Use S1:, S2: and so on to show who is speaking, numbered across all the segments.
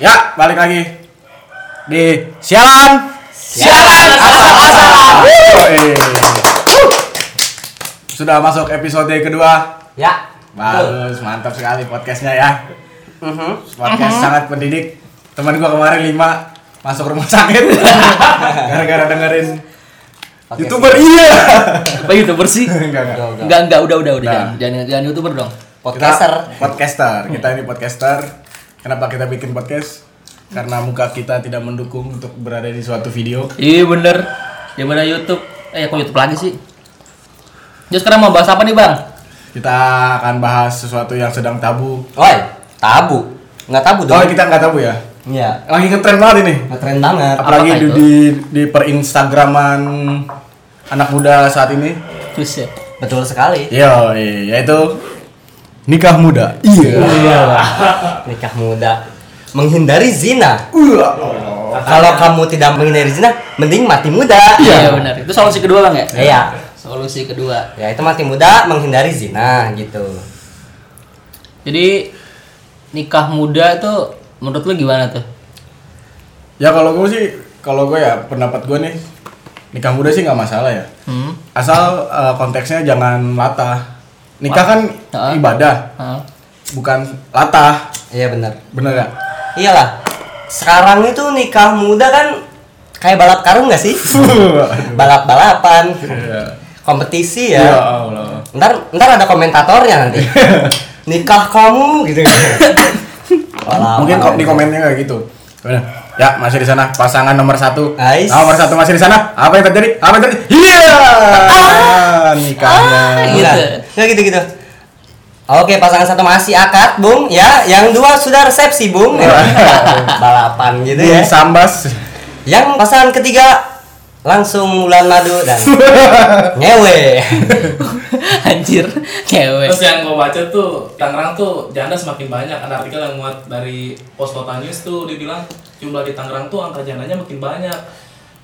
S1: Ya, balik lagi.
S2: di sialan
S1: Sialan asal-asalan.
S2: Yoi.
S1: Sudah masuk episode kedua.
S3: Ya.
S1: Bagus, mantap sekali podcastnya ya. Podcast sangat pendidik. Teman gua kemarin lima masuk rumah sakit gara-gara dengerin youtuber iya.
S4: Apa youtuber sih?
S1: Enggak, enggak.
S3: Udah, udah.
S4: Enggak, enggak, udah, udah, udah.
S1: Udah.
S4: Jangan, jangan, jangan youtuber dong.
S3: Podcaster.
S1: Kita, podcaster. Kita ini podcaster. Kenapa kita bikin podcast? Karena muka kita tidak mendukung untuk berada di suatu video.
S4: Iya bener. Gimana YouTube? Eh, kok YouTube lagi sih? Jadi sekarang mau bahas apa nih bang?
S1: Kita akan bahas sesuatu yang sedang tabu.
S3: Woi, tabu. Nggak tabu
S1: Oh,
S3: dong.
S1: kita nggak tabu ya?
S3: Iya.
S1: Lagi ngetren banget ini.
S3: Ngetren banget.
S1: Apalagi
S4: Apakah
S1: di,
S4: itu?
S1: di di perinstagraman anak muda saat ini.
S4: Buset.
S3: Betul sekali.
S1: Yo, yaitu nikah muda. Iya.
S3: Nikah muda. Menghindari zina.
S1: Ulah.
S3: Kalau kamu tidak menghindari zina, mending mati muda.
S4: Iya bener. Itu solusi kedua bang ya?
S3: Iya.
S4: Solusi kedua.
S3: Ya itu mati muda menghindari zina gitu.
S4: Jadi nikah muda itu menurut lu gimana tuh?
S1: Ya kalau gue sih, kalau gue ya pendapat gue nih nikah muda sih nggak masalah ya.
S4: Hmm?
S1: Asal eh, konteksnya jangan latah. Nikah kan
S4: Ah.
S1: ibadah,
S4: Hah?
S1: bukan latah.
S3: Iya benar.
S1: Bener gak?
S3: Iyalah. Sekarang itu nikah muda kan kayak balap karung nggak sih? Balap-balapan, kompetisi ya.
S1: Iya. Ya Allah.
S3: ntar ntar ada komentatornya nanti nikah kamu gitu Walau,
S1: Mungkin kok di komennya kayak gitu. Udah. Ya, masih di sana pasangan nomor satu.
S3: Ais.
S1: Nomor satu masih di sana. Apa yang terjadi? Apa yang terjadi? Iya.
S3: Ah.
S1: Nikahnya.
S3: gitu
S4: gitu.
S3: nggak gitu gitu Oke pasangan satu masih akad bung ya, yang dua sudah resepsi bung
S1: Iya.
S3: Ya. balapan gitu
S1: Bung
S3: ya.
S1: Sambas.
S3: Yang pasangan ketiga langsung bulan madu dan nyewe.
S4: Anjir, cewek.
S5: Terus yang gue baca tuh Tangerang tuh janda semakin banyak. Ada artikel yang muat dari Pos Kota News tuh dibilang jumlah di Tangerang tuh angka jandanya makin banyak.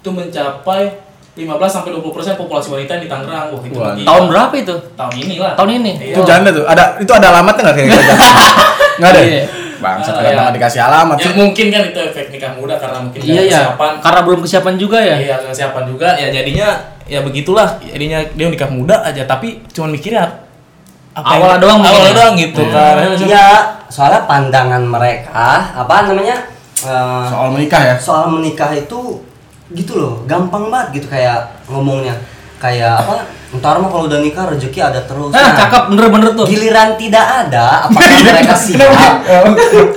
S5: Itu mencapai 15 sampai 20% populasi wanita di Tangerang. Wah, itu
S1: Wah,
S5: gila.
S4: Tahun berapa itu?
S5: tahun ini lah.
S4: Tahun ini?
S5: Iya.
S3: Oh.
S1: Itu janda tuh. Ada itu ada alamatnya nggak kayak janda? Nggak ada. ya?
S4: Iya.
S1: Bangsat
S5: Ah,
S1: kenapa
S5: iya.
S1: nggak dikasih alamat
S5: Ya
S1: sih?
S5: mungkin kan itu efek nikah muda karena mungkin
S4: Iya ya.
S5: kesiapan.
S4: Karena belum kesiapan juga ya.
S5: Iya, kesiapan juga. Ya jadinya ya begitulah. Jadinya dia nikah muda aja tapi cuman mikirnya yang-
S4: Awal doang mungkin
S5: awal
S4: ya.
S5: doang gitu kan.
S3: Iya, soalnya pandangan mereka apa namanya? eh,
S1: Soal menikah ya.
S3: soal menikah itu gitu loh gampang banget gitu kayak ngomongnya kayak apa ntar mah kalau udah nikah rezeki ada
S1: Eh,
S3: terus
S4: Nah, cakep bener-bener tuh.
S3: giliran tidak ada apakah
S1: Iya.
S3: mereka siap Iya.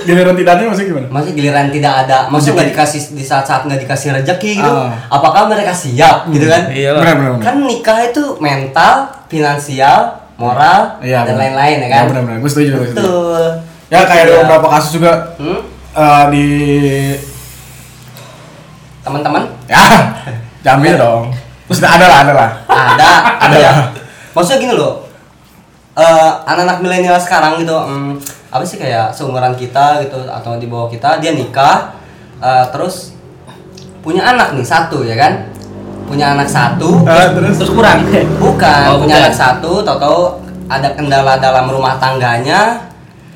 S1: Giliran tidak ada masih gimana?
S3: masih giliran tidak ada maksudnya nggak dikasih di saat saat nggak dikasih rezeki gitu
S1: Ah. Hmm,
S3: apakah mereka siap gitu kan
S5: Iya lah.
S1: Benar benar. benar.
S3: kan nikah itu mental finansial moral
S1: Iya,
S3: dan
S1: benar.
S3: lain-lain ya
S1: Iya,
S3: kan
S1: benar benar. Gue setuju. gue setuju.
S3: betul
S1: Ya kayak ada
S3: Iya.
S1: beberapa kasus juga
S3: Hmm?
S1: eh, di
S3: teman-teman
S1: ya jamin dong. Maksudnya ada lah, ada lah.
S3: ada
S1: Ada.
S3: ada ya. maksudnya gini loh eh, anak-anak milenial sekarang gitu em, apa sih kayak seumuran kita gitu atau di bawah kita dia nikah eh, terus punya anak nih satu ya kan punya anak satu
S1: Ah, terus
S4: Terus kurang.
S3: bukan
S4: Eh. Oh,
S3: punya
S4: bukan.
S3: anak satu tahu-tahu ada kendala dalam rumah tangganya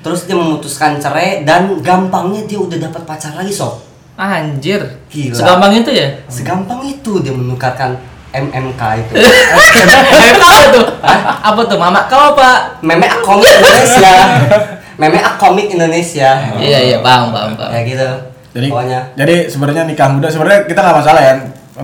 S3: terus dia memutuskan cerai dan gampangnya dia udah dapat pacar lagi sob
S4: Anjir.
S3: Gila.
S4: Segampang itu ya?
S3: segampang itu dia menukarkan MMK itu
S4: apa tuh? Apa tuh? Mama kau apa?
S3: Memek komik Indonesia. Memek komik Indonesia.
S4: Iya iya, paham paham paham.
S3: Ya gitu.
S1: jadi
S3: Pokoknya
S1: jadi sebenarnya nikah muda sebenarnya kita nggak masalah ya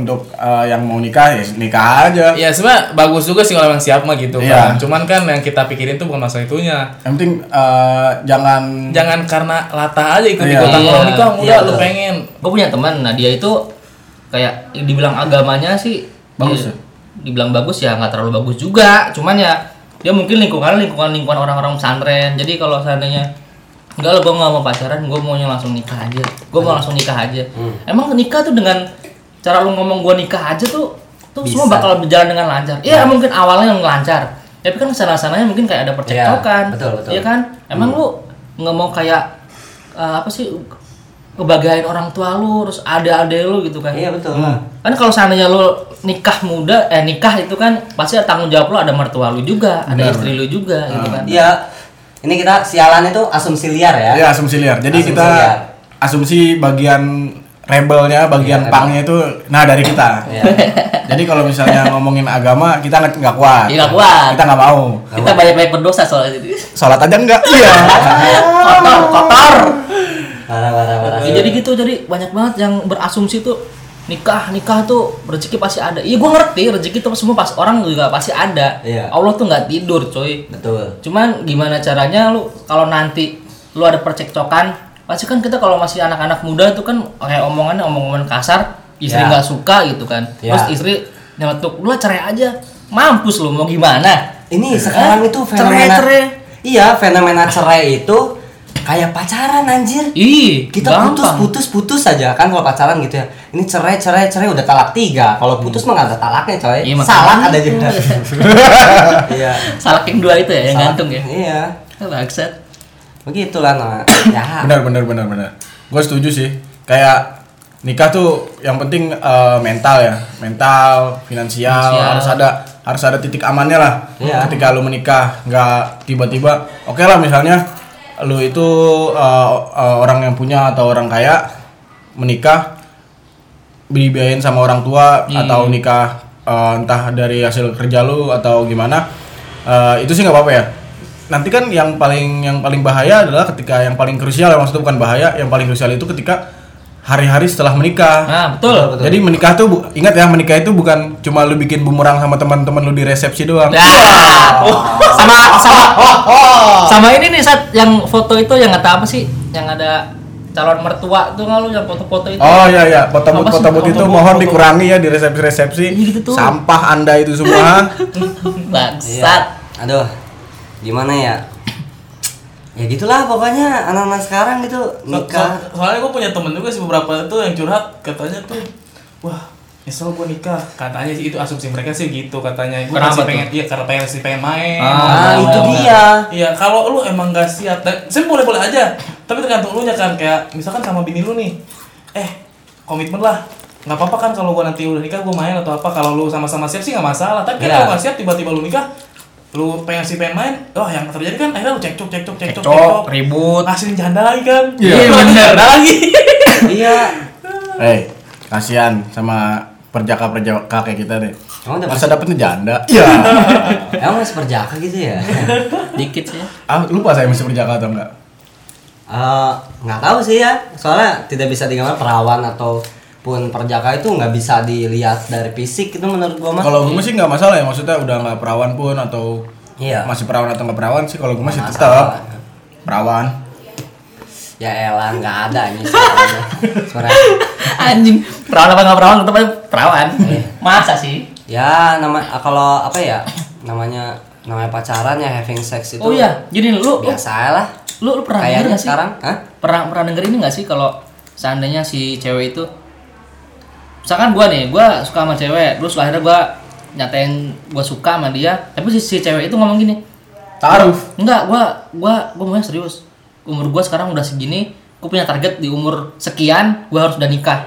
S1: untuk eh, yang mau nikah ya nikah aja.
S4: Iya.
S5: Ya sebenarnya bagus juga sih kalau emang siap mah gitu
S1: Iya.
S5: kan. Cuman kan yang kita pikirin tuh bukan masalah itunya.
S1: Yang penting eh, jangan
S5: Jangan karena latah aja ikut
S1: Iya.
S5: ikutan
S4: Iya.
S5: kalau nikah muda
S3: Iya,
S5: lu
S3: betul.
S5: pengen.
S4: Gue punya teman, nah dia itu kayak dibilang agamanya sih
S1: Bagus
S4: dia-
S1: ya?
S4: Dibilang bagus ya nggak terlalu bagus juga, cuman ya dia mungkin lingkungan lingkungan lingkungan orang-orang pesantren. Jadi kalau seandainya enggak lah gue nggak mau pacaran, gue maunya langsung nikah aja. Gue mau langsung nikah aja.
S3: Hmm.
S4: Emang nikah tuh dengan cara lu ngomong gue nikah aja tuh tuh semua
S3: Bisa.
S4: bakal berjalan dengan lancar. Iya mungkin awalnya lancar, tapi kan kesana sananya mungkin kayak ada percekcokan.
S3: Iya, betul, betul.
S4: Iya kan? Emang
S3: Hmm.
S4: lu nggak mau kayak eh, apa sih kebahagiaan orang tua lu terus ada ade lu gitu kan
S3: iya betul.
S4: kan kalau seandainya lu nikah muda eh nikah itu kan pasti ada tanggung jawab lu ada mertua lu juga ada istri lu juga
S3: Ah.
S4: gitu kan
S3: Iya. Ini kita sialan itu asumsi liar ya.
S1: ya asumsi liar. Jadi
S3: Asumsi
S1: kita
S3: liar.
S1: asumsi bagian rebelnya, bagian
S3: Iya,
S1: pangnya itu nah dari kita.
S3: Iya.
S1: Jadi kalau misalnya ngomongin agama kita nggak nggak kuat.
S4: Iya, nggak kuat.
S1: Kita nggak mau.
S4: Kita banyak-banyak berdosa soalnya itu.
S1: Sholat aja nggak. Iya.
S4: Kotor, kotor.
S3: Parah, parah, parah.
S4: Ya, jadi gitu, jadi banyak banget yang berasumsi tuh nikah nikah tuh rezeki pasti ada. Iya gue ngerti rezeki tuh semua pas orang juga pasti ada.
S3: Iya.
S4: Allah tuh nggak tidur coy.
S3: Betul.
S4: Cuman gimana caranya lu kalau nanti lu ada percekcokan pasti kan kita kalau masih anak-anak muda tuh kan kayak omongannya omongan kasar istri
S3: Ya.
S4: nggak suka gitu kan
S3: Ya.
S4: terus istri nyeletuk lu lah cerai aja mampus lu mau gimana
S3: Ini sekarang
S4: Hah?
S3: itu fenomena
S4: Eh, Cerai, cerai.
S3: Iya, fenomena cerai itu kayak pacaran anjir.
S4: ih
S3: Kita putus,
S4: gampang.
S3: putus, putus saja kan kalau pacaran gitu ya. Ini cerai, cerai, cerai udah talak tiga. Kalau putus mah nggak ada talaknya coy.
S4: Hmm. Iya, makanya.
S3: Salah ada jeda. Iya.
S4: salak yang dua itu ya yang
S3: Salak.
S4: gantung ya
S3: Iya.
S4: Bangsat.
S3: Begitulah nah. Ya.
S1: Benar benar benar benar. Gue setuju sih. Kayak nikah tuh yang penting eh, mental ya, mental, finansial,
S4: Finansial.
S1: harus ada harus ada titik amannya lah.
S3: Iya.
S1: Ketika lu menikah nggak tiba-tiba, oke lah misalnya lu itu eh, eh, orang yang punya atau orang kaya menikah dibiayain sama orang tua
S4: Hmm.
S1: atau nikah eh, entah dari hasil kerja lu atau gimana eh, itu sih nggak apa-apa ya nanti kan yang paling yang paling bahaya adalah ketika yang paling krusial ya, maksudnya bukan bahaya yang paling krusial itu ketika hari-hari setelah menikah
S4: Nah, betul.
S1: jadi menikah tuh bu- ingat ya menikah itu bukan cuma lu bikin bumerang sama teman-teman lu di resepsi doang
S4: Nah,
S3: Oh.
S4: sama sama sama ini nih saat yang foto itu yang kata apa sih? Yang ada calon mertua tuh nggak lu yang foto-foto itu?
S1: Oh iya iya, foto
S4: Apa
S1: booth
S4: sih
S1: foto booth
S4: foto
S1: itu
S4: booth,
S1: mohon
S4: foto
S1: dikurangi ya di resepsi-resepsi.
S4: Iya, gitu tuh.
S1: Sampah Anda itu semua.
S4: Bangsat.
S3: Iya. Aduh. Gimana ya? Ya gitulah pokoknya anak-anak sekarang gitu
S5: So-
S3: nikah.
S5: so- soalnya gue punya temen juga sih beberapa tuh yang curhat katanya tuh wah nyesel gue nikah katanya sih itu asumsi mereka sih gitu katanya gue
S4: Kenapa
S5: masih
S4: tuh?
S5: pengen iya karena pengen sih pengen main
S3: Ah, itu
S5: Iya.
S3: dia.
S5: iya kalau lu emang gak siap dan sih boleh boleh aja tapi tergantung lu nya kan kayak misalkan sama bini lu nih eh komitmen lah nggak apa-apa kan kalau gua nanti udah nikah gue main atau apa kalau lu sama-sama siap sih nggak masalah tapi
S3: Iya.
S5: kalau nggak siap tiba-tiba lu nikah lu pengen sih pengen main wah yang terjadi kan akhirnya lu cekcok cekcok cekcok
S4: Cok, ribut.
S5: Hasilin janda lagi kan?
S4: Iya,
S5: Lu hasilin
S4: bener.
S5: Janda lagi.
S3: Iya.
S1: Eh, kasihan sama perjaka-perjaka kayak kita deh.
S3: Emang dapat-
S1: Masa dapetnya janda? Iya.
S3: Emang masih perjaka gitu ya?
S4: Dikit sih.
S1: ah, lupa saya masih perjaka atau enggak?
S3: Eh, nggak tahu sih ya soalnya tidak bisa digambar perawan ataupun perjaka itu nggak bisa dilihat dari fisik itu menurut gua mah
S1: Kalau gue sih nggak masalah ya, maksudnya udah nggak perawan pun atau
S3: Iya.
S1: masih perawan atau nggak perawan sih kalau gue masih
S3: Nggak
S1: tetap
S3: masalah.
S1: perawan.
S3: ya elah nggak ada ini suaranya Suaranya.
S4: Anjing, perawan apa nggak perawan tetap aja perawan.
S3: Iya.
S4: Masa sih?
S3: ya nama ah, kalau apa ya namanya namanya pacaran ya having sex itu
S4: Oh iya, jadi lu lu,
S3: biasa lah
S4: lu, lu pernah denger
S3: kayaknya
S4: nggak sih?
S3: sekarang Hah?
S4: Pernah pernah denger ini nggak sih kalau seandainya si cewek itu misalkan gua nih, gua suka sama cewek, terus akhirnya gua nyatain gua suka sama dia, tapi si, si cewek itu ngomong gini,
S1: Taruh.
S4: Enggak, gua gua gua maunya serius. Umur gua sekarang udah segini, gua punya target di umur sekian gua harus udah nikah.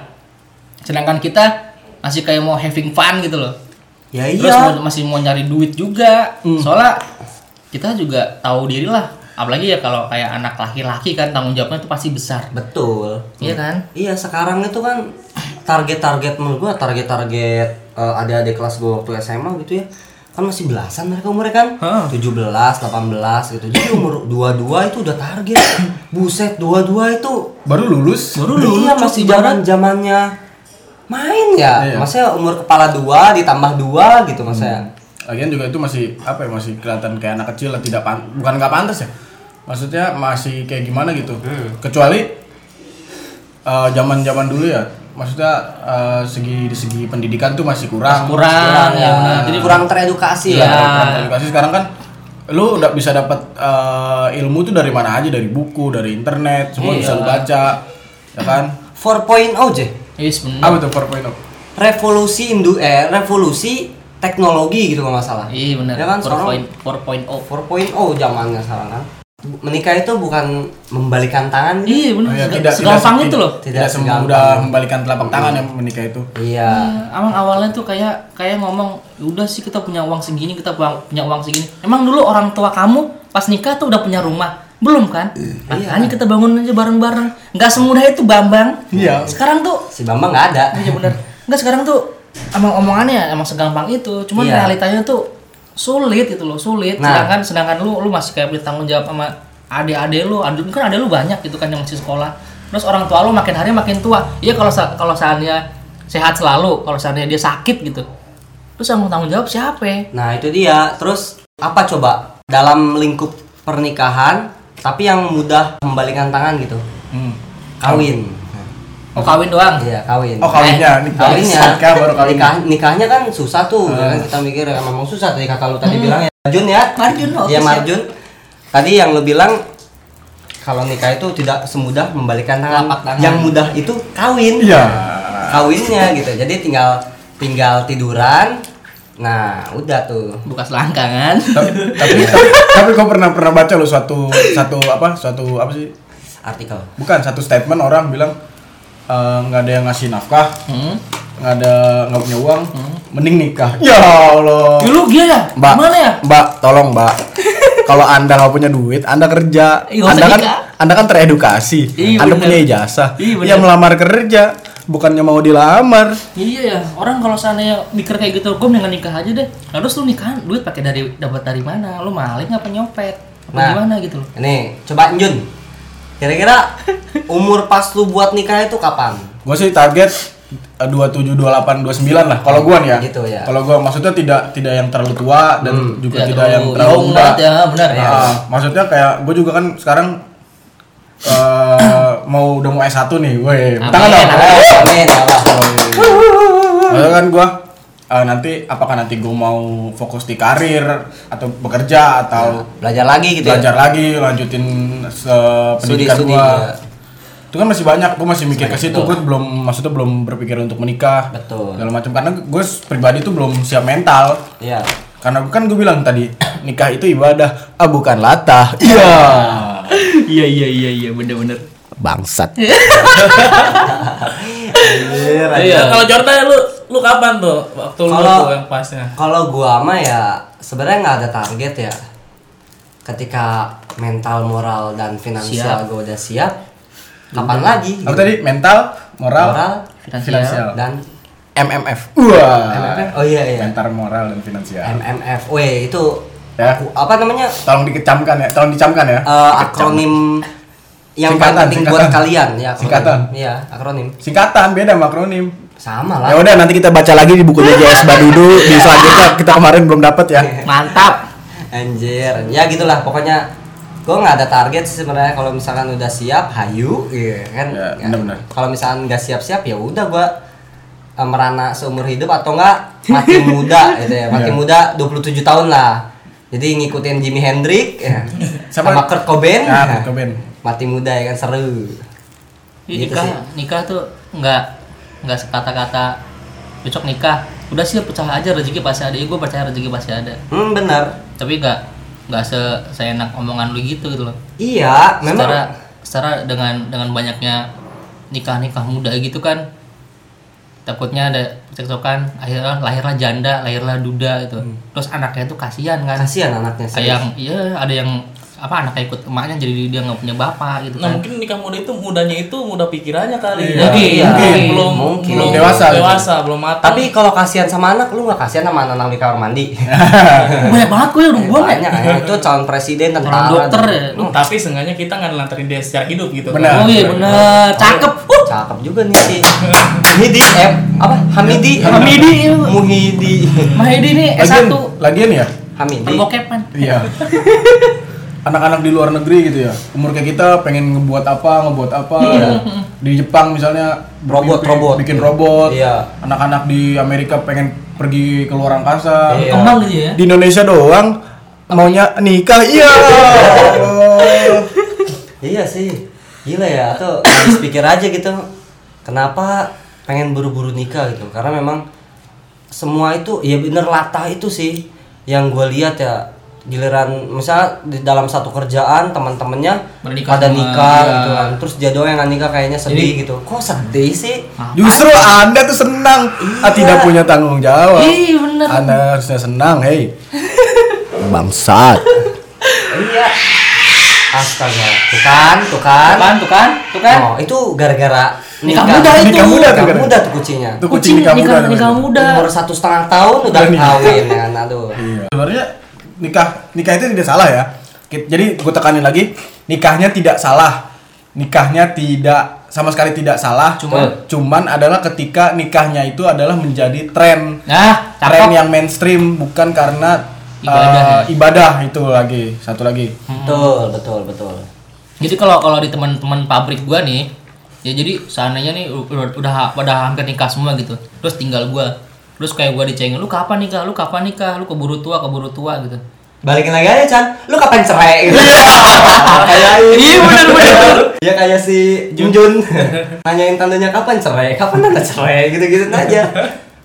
S4: Sedangkan kita masih kayak mau having fun gitu loh.
S3: ya
S4: Terus
S3: iya
S4: mau- masih mau nyari duit juga. Soalnya kita juga tahu diri lah. Apalagi ya kalau kayak anak laki-laki kan tanggung jawabnya itu pasti besar.
S3: betul
S4: Iya kan?
S3: Iya sekarang itu kan target-target menurut gua target-target eh, adik-adik kelas gua waktu SMA gitu ya kan masih belasan mereka umurnya kan
S4: Hah.
S3: 17, 18 gitu jadi umur 22 itu udah target buset 22 itu
S1: Baru lulus.
S4: Baru lulus,
S3: iya
S4: Cok,
S3: masih
S4: ibarat.
S3: zaman zamannya main ya
S1: Iya.
S3: maksudnya umur kepala dua ditambah dua gitu
S4: Hmm.
S3: maksudnya
S1: Lagian juga itu masih apa ya masih kelihatan kayak anak kecil lah, tidak pan bukan nggak pantas ya. Maksudnya masih kayak gimana gitu.
S4: Hmm.
S1: Kecuali eh, zaman-zaman dulu ya. Maksudnya eh, segi di segi pendidikan tuh masih kurang.
S3: ya,
S4: Kurang ya. benar. Jadi
S3: jadi
S4: kurang
S3: kurang teredukasi
S1: Iya,
S3: ya
S1: kurang edukasi. sekarang kan lu udah bisa dapat eh, ilmu tuh dari mana aja dari buku, dari internet, semua
S4: Iya.
S1: bisa lu baca. Ya kan?
S3: 4.0 je
S4: Yes, bener.
S1: Apa tuh oh? 4.0
S3: revolusi indu eh revolusi teknologi gitu kalau nggak salah
S4: Iya benar.
S3: ya kan sekarang Oh, 4.0
S4: 4.0.
S3: zamannya sekarang kan Bu- menikah itu bukan membalikan tangan gitu.
S4: Iya benar.
S1: Oh, ya,
S4: Sega- Segampang
S1: se-
S4: itu loh.
S1: Tidak,
S3: Tidak
S1: semudah membalikan telapak tangan yang menikah itu.
S3: iya
S4: Eh, Emang awalnya tuh kayak kayak ngomong "Ya udah sih kita punya uang segini kita punya punya uang segini. Emang dulu orang tua kamu pas nikah tuh udah punya rumah. Belum kan? Makanya kita bangun aja bareng-bareng. Nggak semudah itu Bambang. Iya. Sekarang tuh
S3: si Bambang nggak ada
S4: Iya benar. Enggak sekarang tuh emang omongannya emang segampang itu, cuman
S3: Iya.
S4: realitanya tuh sulit gitu loh, sulit.
S3: Nah.
S4: Sedangkan sedangkan lu lu masih kayak bertanggung jawab sama adik-adik lu, adik kan adik lu banyak gitu kan yang masih sekolah. Terus orang tua lu makin hari makin tua. Iya kalau sa- kalau seandainya sehat selalu, kalau seandainya dia sakit gitu. Terus yang mau tanggung jawab siapa?
S3: nah itu dia terus apa coba dalam lingkup pernikahan tapi yang mudah membalikan tangan gitu
S1: Hmm.
S3: kawin
S4: Oh kawin doang.
S3: iya kawin
S1: Oh kawinnya,
S3: Eh,
S1: nikah.
S3: kawinnya
S1: Nikah baru kawin.
S3: Nikah, nikahnya kan susah tuh ya
S4: Ah.
S3: kan kita mikir ya, memang susah tadi kakak lu tadi bilang ya Marjun ya
S4: Hmm. Marjun, oke,
S3: ya
S4: siap.
S3: Marjun tadi yang lu bilang kalau nikah itu tidak semudah membalikan tangan.
S4: Telapak tangan.
S3: yang mudah itu kawin
S1: Iya.
S3: kawinnya gitu jadi tinggal tinggal tiduran nah udah tuh
S4: Buka selangkangan.
S1: Tapi tapi tapi, tapi kau pernah pernah baca lo suatu satu apa suatu apa sih?
S3: artikel
S1: Bukan satu statement orang bilang eh, nggak ada yang ngasih nafkah,
S4: Hmm.
S1: nggak ada nggak punya uang, mending nikah. Ya Allah.
S4: Dulu dia ya?
S1: Mbak,
S4: Gimana ya?
S1: Mbak, tolong Mbak. Kalau Anda nggak punya duit, Anda kerja.
S4: Ih, Iya, nggak usah
S1: Anda kan
S4: nikah.
S1: Anda kan teredukasi.
S4: Iya,
S1: anda
S4: bener.
S1: punya ijazah.
S4: Iya, bener.
S1: ya melamar kerja, bukannya mau dilamar.
S4: Iya ya, orang kalau seandainya mikir kayak gitu, gue mendingan nikah aja deh. Nah, terus lu nikahan, duit pakai dari dapat dari mana? Lu maling apa nyopet? Apa
S3: Nah.
S4: gimana gitu loh.
S3: nih coba Njun kira-kira umur pas lu buat nikah itu kapan
S1: Gue sih target eh, 27, 28, 29 lah kalau gua nih ya.
S3: Gitu ya.
S1: Kalau gua maksudnya tidak tidak yang terlalu tua dan
S3: Hmm.
S1: juga tidak, yang terlalu
S4: Young
S1: muda.
S4: banget ya, benar ya.
S1: Ah, maksudnya kayak gue juga kan sekarang eh, mau udah mau S1 nih, woi.
S4: Amin,
S1: Tangan dong.
S4: amin.
S3: Eh, amin ya Allah
S1: Maksudnya kan gua eh, nanti apakah nanti gue mau fokus di karir atau bekerja
S4: Nah.
S1: atau
S3: belajar lagi gitu ya
S1: belajar lagi lanjutin se pendidikan
S3: Studi-studi,
S1: gua.
S3: ya.
S1: itu kan masih banyak gue masih mikir ke situ gue belum maksudnya belum berpikir untuk menikah
S3: Betul.
S1: segala macam karena gue pribadi tuh belum siap mental
S3: Iya.
S1: karena kan gue bilang tadi nikah itu ibadah ah bukan latah iya
S4: iya iya iya iya bener-bener.
S1: bangsat
S5: Iya. Kalau
S4: ya
S5: Jordan lu lu kapan tuh waktu lu
S3: Kalau-
S5: tuh yang pasnya?
S3: Kalau gua mah ya sebenarnya nggak ada target ya. Ketika mental, moral dan finansial gua udah siap, kapan lagi?
S1: apa
S3: gitu.
S1: tadi mental moral,
S3: Moral
S1: finansial
S3: dan
S1: MMF wah
S3: MMF? Oh, iya, iya.
S1: mental moral dan finansial
S3: MMF. Weh, itu
S1: ya
S3: ku- apa namanya?
S1: tolong dikecamkan ya tolong dicamkan ya
S3: Eh, akronim yang
S1: Singkatan,
S3: paling penting buat
S1: singkatan.
S3: kalian ya. akronim.
S1: Singkatan.
S3: Iya, akronim.
S1: singkatan beda sama akronim
S3: Sama lah.
S1: ya udah nanti kita baca lagi di bukunya JS Badudu di selanjutnya kita kemarin belum dapat ya
S4: Mantap.
S3: Anjir. Ya gitulah pokoknya gua nggak ada target sih sebenarnya kalau misalkan udah siap hayu iya kan
S1: Ya, benar-benar.
S3: kalau misalkan nggak siap-siap ya udah gua eh, merana seumur hidup atau enggak mati muda gitu ya mati
S1: Iya.
S3: muda 27 tahun lah jadi ngikutin Jimi Hendrix ya.
S1: Sama-
S3: sama, Kurt Cobain
S1: Ah,
S3: ya.
S1: Kurt Cobain.
S3: mati muda ya kan seru
S4: Iya,
S3: Gitu
S4: nikah
S3: sih.
S4: nikah tuh nggak nggak sekata-kata besok nikah. Udah sih pecah aja rezeki pasti ada. Gue percaya rezeki pasti ada.
S3: hmm benar
S4: Tapi nggak nggak se seenak omongan lu gitu gitu loh.
S3: iya memang
S4: secara secara dengan dengan banyaknya nikah nikah muda gitu kan takutnya ada cekcokan akhirnya lahirlah janda lahirlah duda gitu terus anaknya tuh kasihan kan
S3: kasihan anaknya
S4: kayak
S3: sih
S4: yang iya ada yang apa anaknya ikut emaknya jadi dia nggak punya bapak gitu
S5: Nah
S4: kan
S5: mungkin nikah muda itu mudanya itu muda pikirannya kali.
S1: Iya.
S5: Mungkin,
S4: Iya,
S5: mungkin. belum
S3: mungkin.
S5: belum
S1: Dewasa gitu.
S5: dewasa belum matang.
S3: tapi kalau kasihan sama anak lu nggak kasihan sama anak-anak di kamar mandi
S4: banyak banget gue udah buang ya
S3: banyak ya itu calon presiden
S4: orang
S3: tentara
S4: dokter ya
S5: Hmm, tapi seenggaknya kita nggak nelantarin dia secara hidup gitu.
S1: Benar.
S4: oh iya bener cakep uh
S3: cakep juga nih si Muhidi eh apa Hamidi
S4: Hamidi, iya.
S3: Muhidi
S4: Mahedi Uh, nih S1
S1: lagian lagian ya
S3: Hamidi
S4: perbokepan
S1: iya anak-anak di luar negeri gitu ya umur kayak kita pengen ngebuat apa ngebuat apa Ya. di Jepang misalnya
S3: Robot,
S1: bikin-
S3: robot.
S1: bikin robot
S3: Iya.
S1: anak-anak di Amerika pengen pergi ke luar angkasa
S3: Iya.
S4: kembang gitu ya
S1: di Indonesia doang maunya nikah iya Oh.
S3: iya sih gila ya atau habis pikir aja gitu kenapa pengen buru-buru nikah gitu karena memang semua itu ya bener latah itu sih yang gue lihat ya giliran misalnya di dalam satu kerjaan teman-temannya
S4: Menikah
S3: pada
S4: semua,
S3: nikah
S4: iya.
S3: gitu kan. terus dia doang yang nggak nikah kayaknya sedih gitu Ah, kok sedih sih
S1: justru anda tuh senang ah, tidak punya tanggung jawab
S4: iya bener
S1: anda harusnya senang hei bangsat
S3: Iya. Astaga. Tuh kan, tuh kan.
S4: Tuh kan, tuh kan, tuh kan.
S3: Oh, itu gara-gara
S4: Nikah muda itu.
S3: Nikah muda,
S1: Nikah
S3: tuh,
S1: muda.
S3: muda tuh kucingnya.
S1: Itu kucing nikah muda.
S4: nikah, nikah
S1: namanya.
S4: muda.
S3: Umur satu setengah tahun udah kawin kan, aduh.
S1: Iya. Sebenarnya nikah nikah itu tidak salah ya. Ki- Jadi gue tekanin lagi, nikahnya tidak salah. Nikahnya tidak sama sekali tidak salah,
S4: Cuman?
S1: cuman adalah ketika nikahnya itu adalah menjadi tren.
S4: Nah,
S1: Tren
S4: cakep.
S1: yang mainstream bukan karena eh,
S4: Ibadah ya.
S1: ibadah itu lagi satu lagi.
S3: Betul, betul, betul.
S4: Jadi kalau kalau di teman-teman pabrik gua nih, ya jadi seandainya nih u- udah udah udah hampir nikah semua gitu. Terus tinggal gua. Terus kayak gua dicengin, "Lu kapan nikah? Lu kapan nikah? Lu keburu tua, keburu tua" gitu.
S3: Balikin lagi aja, Chan. Lu kapan cerai? Gitu. kayak
S4: Iya, bener, bener.
S3: Ya kayak si Jun Jun. Nanyain tandanya kapan cerai? Kapan tanda cerai? Gitu-gitu aja.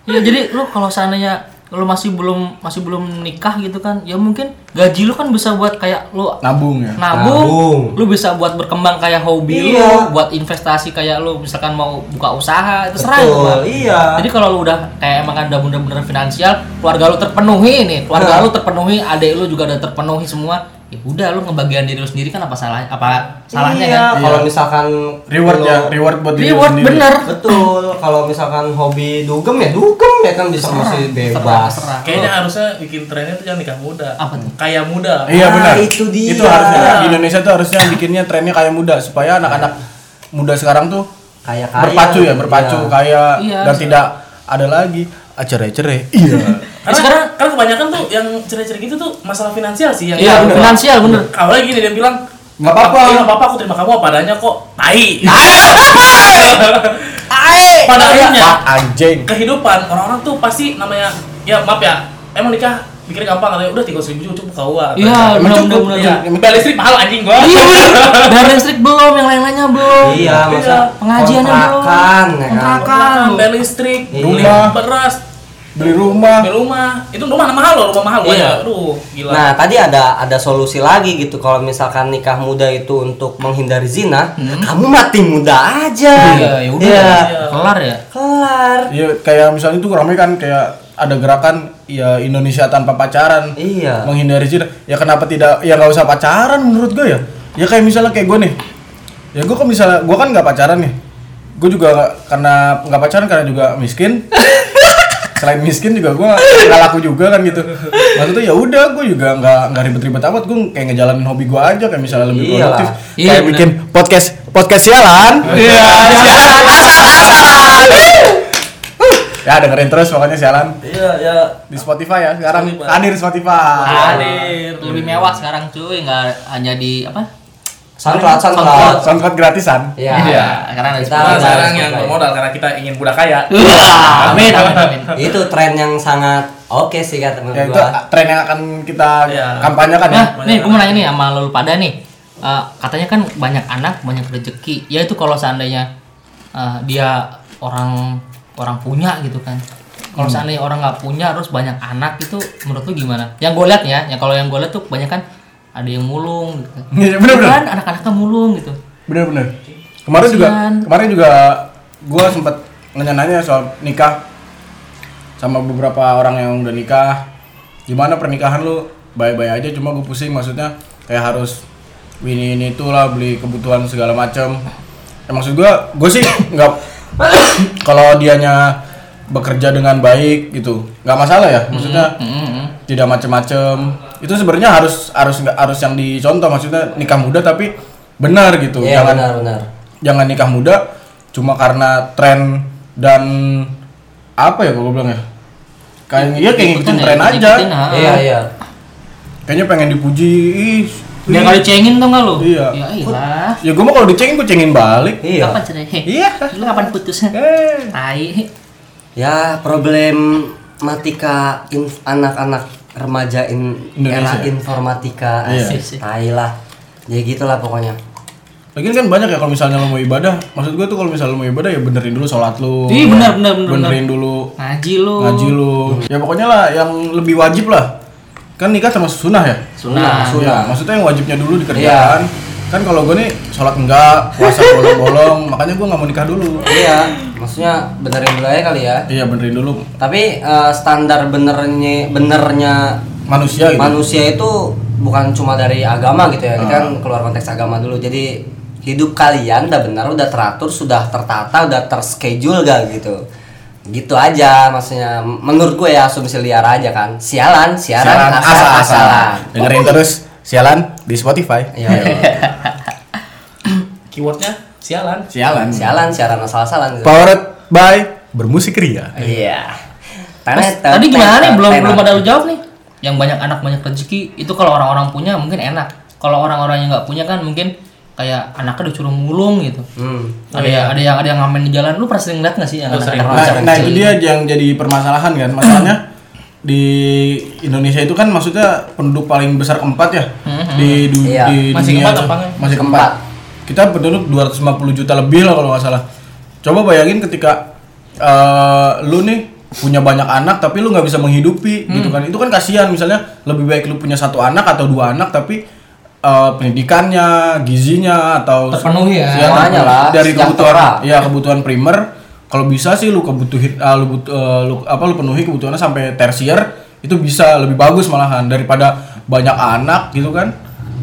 S4: Ya jadi lu kalau seandainya lu masih belum masih belum nikah gitu kan, ya mungkin gaji lu kan bisa buat kayak lu
S1: Nabung ya.
S4: nabung,
S3: Nabung.
S4: lu bisa buat berkembang kayak hobi
S3: Iya.
S4: lu, buat investasi kayak lu misalkan mau buka usaha, itu serah
S3: Betul,
S4: Bang.
S3: iya.
S4: Jadi kalau lu udah kayak emang udah bener-bener finansial, keluarga lu terpenuhi nih, keluarga
S3: Nah.
S4: lu terpenuhi, adik lu juga udah terpenuhi semua. Ya udah lu ngebagian diri lu sendiri kan apa salah apa salahnya
S3: iya,
S4: kan?
S3: kalau misalkan
S1: Reward
S3: lu-
S1: ya, reward buat diri lu
S4: Reward
S1: sendiri.
S4: bener.
S3: Betul, kalau misalkan hobi dugem ya dugem ya kan bisa masih bebas.
S4: terserah.
S5: Kayaknya harusnya bikin trennya tuh yang nikah muda.
S4: Oh. Apa tuh? Eh,
S5: Kaya muda.
S1: Iya
S3: Nah,
S1: benar.
S3: itu dia.
S1: Itu harusnya di Indonesia tuh harusnya bikinnya trennya kayak muda supaya anak-anak muda sekarang tuh
S3: Kayak kaya.
S1: berpacu ya, berpacu
S3: Iya.
S1: kayak
S4: Iya,
S1: dan
S4: so-
S1: tidak ada lagi ah, cerai-cerai. Iya.
S5: Karena sekarang kan kebanyakan tuh yang cerai-cerai gitu tuh masalah finansial sih yang
S4: Iya,
S5: yang-
S4: finansial bener.
S5: Awalnya gini dia bilang
S1: Nggak apa-apa.
S5: "Iya, nggak apa-apa aku terima kamu apa adanya kok. Tai. Pada
S3: Eh,
S5: akhirnya
S1: Pak ya, anjing.
S5: kehidupan orang-orang tuh pasti namanya ya maaf ya emang nikah pikir gampang katanya udah tiga ribu juga cukup kau ah."
S4: Iya,
S1: Emang
S4: bener bener
S1: cukup,
S4: bener.
S5: Iya, bel listrik mahal anjing gua.
S4: Iya bener. Dan listrik belum, yang lain-lainnya belum.
S3: Iya, masa
S4: Pengajiannya belum.
S3: kontrakan, ya kan.
S4: Kontrakan.
S5: Kontrakan, bel listrik,
S4: Iya.
S5: beli
S6: Iya.
S1: Rumah.
S5: beras,
S1: Beli rumah.
S5: beli rumah. Itu rumah mahal loh, rumah mahal gua
S4: Iya.
S5: ya. Aduh, gila.
S3: Nah, tadi ada ada solusi lagi gitu kalau misalkan nikah muda itu untuk menghindari zina, kamu mati muda aja.
S4: Iya, ya udah.
S3: Iya.
S4: Kelar ya.
S3: Kelar.
S1: Iya kayak misalnya itu ramai kan kayak ada gerakan ya Indonesia tanpa pacaran.
S3: Iya.
S1: Menghindari zina. Ya kenapa tidak ya nggak usah pacaran menurut gue ya. Ya kayak misalnya kayak gue nih. Ya gue kan misalnya gue kan nggak pacaran nih. Gue juga nggak- karena nggak pacaran karena juga miskin. Selain miskin juga gue nggak laku juga kan gitu. Maksudnya ya udah gue juga nggak nggak ribet-ribet amat. Gue kayak ngejalanin hobi gue aja kayak misalnya lebih
S3: Iyalah.
S1: produktif.
S4: Iya,
S1: kayak
S4: bener.
S1: bikin podcast podcast sialan. Iya. Ya dengerin terus pokoknya sialan
S3: Iya, ya.
S1: di Spotify ya sekarang
S5: Spotify.
S1: hadir Spotify.
S4: Hadir. Lebih mewah sekarang cuy, nggak hanya di apa?
S3: Soundcloud,
S4: Soundcloud.
S3: soundcloud.
S1: Soundcloud Oh, gratisan.
S3: Iya.
S4: Karena ada di
S3: Kita
S5: Nah,
S4: Spotify.
S5: sekarang
S3: harus
S5: yang
S3: berbaik.
S5: bermodal karena kita ingin budak kaya.
S4: Wah, Amin, amin, amin.
S3: itu tren yang sangat oke sih kata menurut
S1: Ya itu
S3: Iya, gua.
S1: tren yang akan kita
S5: Iya.
S1: kampanyekan ya.
S4: Nah, nih gue mau nanya nih sama lu pada nih. Eh, katanya kan banyak anak, banyak rezeki. Ya itu kalau seandainya eh, dia orang orang punya gitu kan. Kalau
S1: Hmm.
S4: seandainya orang nggak punya terus banyak anak itu menurut lu gimana? Yang gue lihat ya, ya kalau yang gue lihat tuh kebanyakan ada yang mulung gitu.
S1: Iya, bener, bener.
S4: Kan anak-anaknya mulung gitu.
S1: Bener bener. Kemarin juga
S4: Kasihan.
S1: kemarin juga gua sempat nanya-nanya soal nikah sama beberapa orang yang udah nikah. Gimana pernikahan lu? Baik-baik aja cuma gue pusing maksudnya kayak harus ini ini itulah beli kebutuhan segala macam. Ya, maksud gua gue sih nggak kalau dianya bekerja dengan baik gitu nggak masalah ya maksudnya tidak macem-macem itu sebenarnya harus harus nggak harus yang dicontoh maksudnya nikah muda tapi benar gitu
S3: Iya,
S1: jangan
S3: benar, benar.
S1: jangan nikah muda cuma karena tren dan apa ya kalau bilang ya kayak iya kayak ngikutin
S4: Ikutin ya,
S1: tren aja
S4: ikutin, ha.
S3: Iya, iya.
S1: kayaknya pengen dipuji ih
S4: Dia
S1: ih.
S4: kali cengin tuh nggak lu?
S1: Iya.
S4: Ya iyalah.
S1: ya gue mau kalau dicengin gue cengin balik
S3: Iya.
S4: Kapan cerai? Heh,
S1: Iya.
S4: Lu kapan putusnya?
S1: eh
S4: Tai.
S3: Ya, problem matika inf- anak-anak remaja in-
S1: Indonesia.
S3: era informatika
S1: Iya.
S3: asik tai lah. Ya gitulah pokoknya.
S1: Lagian kan banyak ya kalau misalnya lo mau ibadah, maksud gue tuh kalau misalnya lo mau ibadah ya benerin dulu sholat lo.
S4: Ih, Iya, benar, benar, benar,
S1: Benerin dulu
S4: Ngaji lu.
S1: ngaji lo. Ya pokoknya lah yang lebih wajib lah. Kan nikah termasuk sunnah Iya. ya.
S4: Sunnah.
S1: Iya, maksudnya yang wajibnya dulu dikerjakan. Kan kalau gue nih sholat enggak, puasa bolong-bolong, makanya gue nggak mau nikah dulu.
S3: Iya, maksudnya benerin dulu aja kali ya.
S1: Iya benerin dulu
S3: Tapi eh, standar benernya benernya
S1: manusia gitu.
S3: manusia itu bukan cuma dari agama gitu ya kita kan
S4: Ah.
S3: keluar konteks agama dulu jadi hidup kalian udah benar udah teratur sudah tertata udah terschedule gak gitu gitu aja maksudnya menurut gue ya asumsi liar aja kan sialan siaran,
S1: Sialan asal-asalan.
S3: asal-asalan
S1: Dengerin terus sialan di Spotify.
S3: Iya, iya.
S5: Keywordnya sialan.
S1: Sialan.
S3: sialan siaran asal-asalan gitu.
S1: Powered by bermusik ria.
S3: iya
S4: Mas, tadi gimana nih? Belum belum ada lu jawab nih. Yang banyak anak banyak rezeki itu kalau orang-orang punya mungkin enak. Kalau orang-orang yang nggak punya kan mungkin kayak anaknya udah curung mulung gitu.
S3: hmm.
S4: Ada yang ada yang ada yang ngamen di jalan. Lu pernah sering lihat nggak sih yang
S5: Gua sering.
S4: anak-anak
S1: Nah,
S4: bocah
S1: nah itu
S4: kecil? gitu?
S1: dia yang jadi permasalahan kan masalahnya di Indonesia itu kan maksudnya penduduk paling besar keempat ya di, du-
S3: Iya.
S1: di
S5: Masih
S1: dunia
S5: keempat
S1: tuh.
S5: apa enggak?
S1: masih keempat kita penduduk 250 juta lebih lah kalau nggak salah coba bayangin ketika eh, lu nih punya banyak anak tapi lu nggak bisa menghidupi gitu kan itu kan kasihan misalnya lebih baik lu punya satu anak atau dua anak tapi eh, pendidikannya gizinya atau
S4: Terpenuhi ya.
S1: Iya,
S3: Semuanya
S1: tapi
S3: lah,
S1: dari kebutuhan
S3: sejahtera.
S1: ya
S4: Iya.
S1: kebutuhan primer kalau bisa sih lu kebutuhin ah, lu, but- eh, lu apa lu penuhi kebutuhannya sampai tersier itu bisa lebih bagus malahan daripada banyak anak gitu kan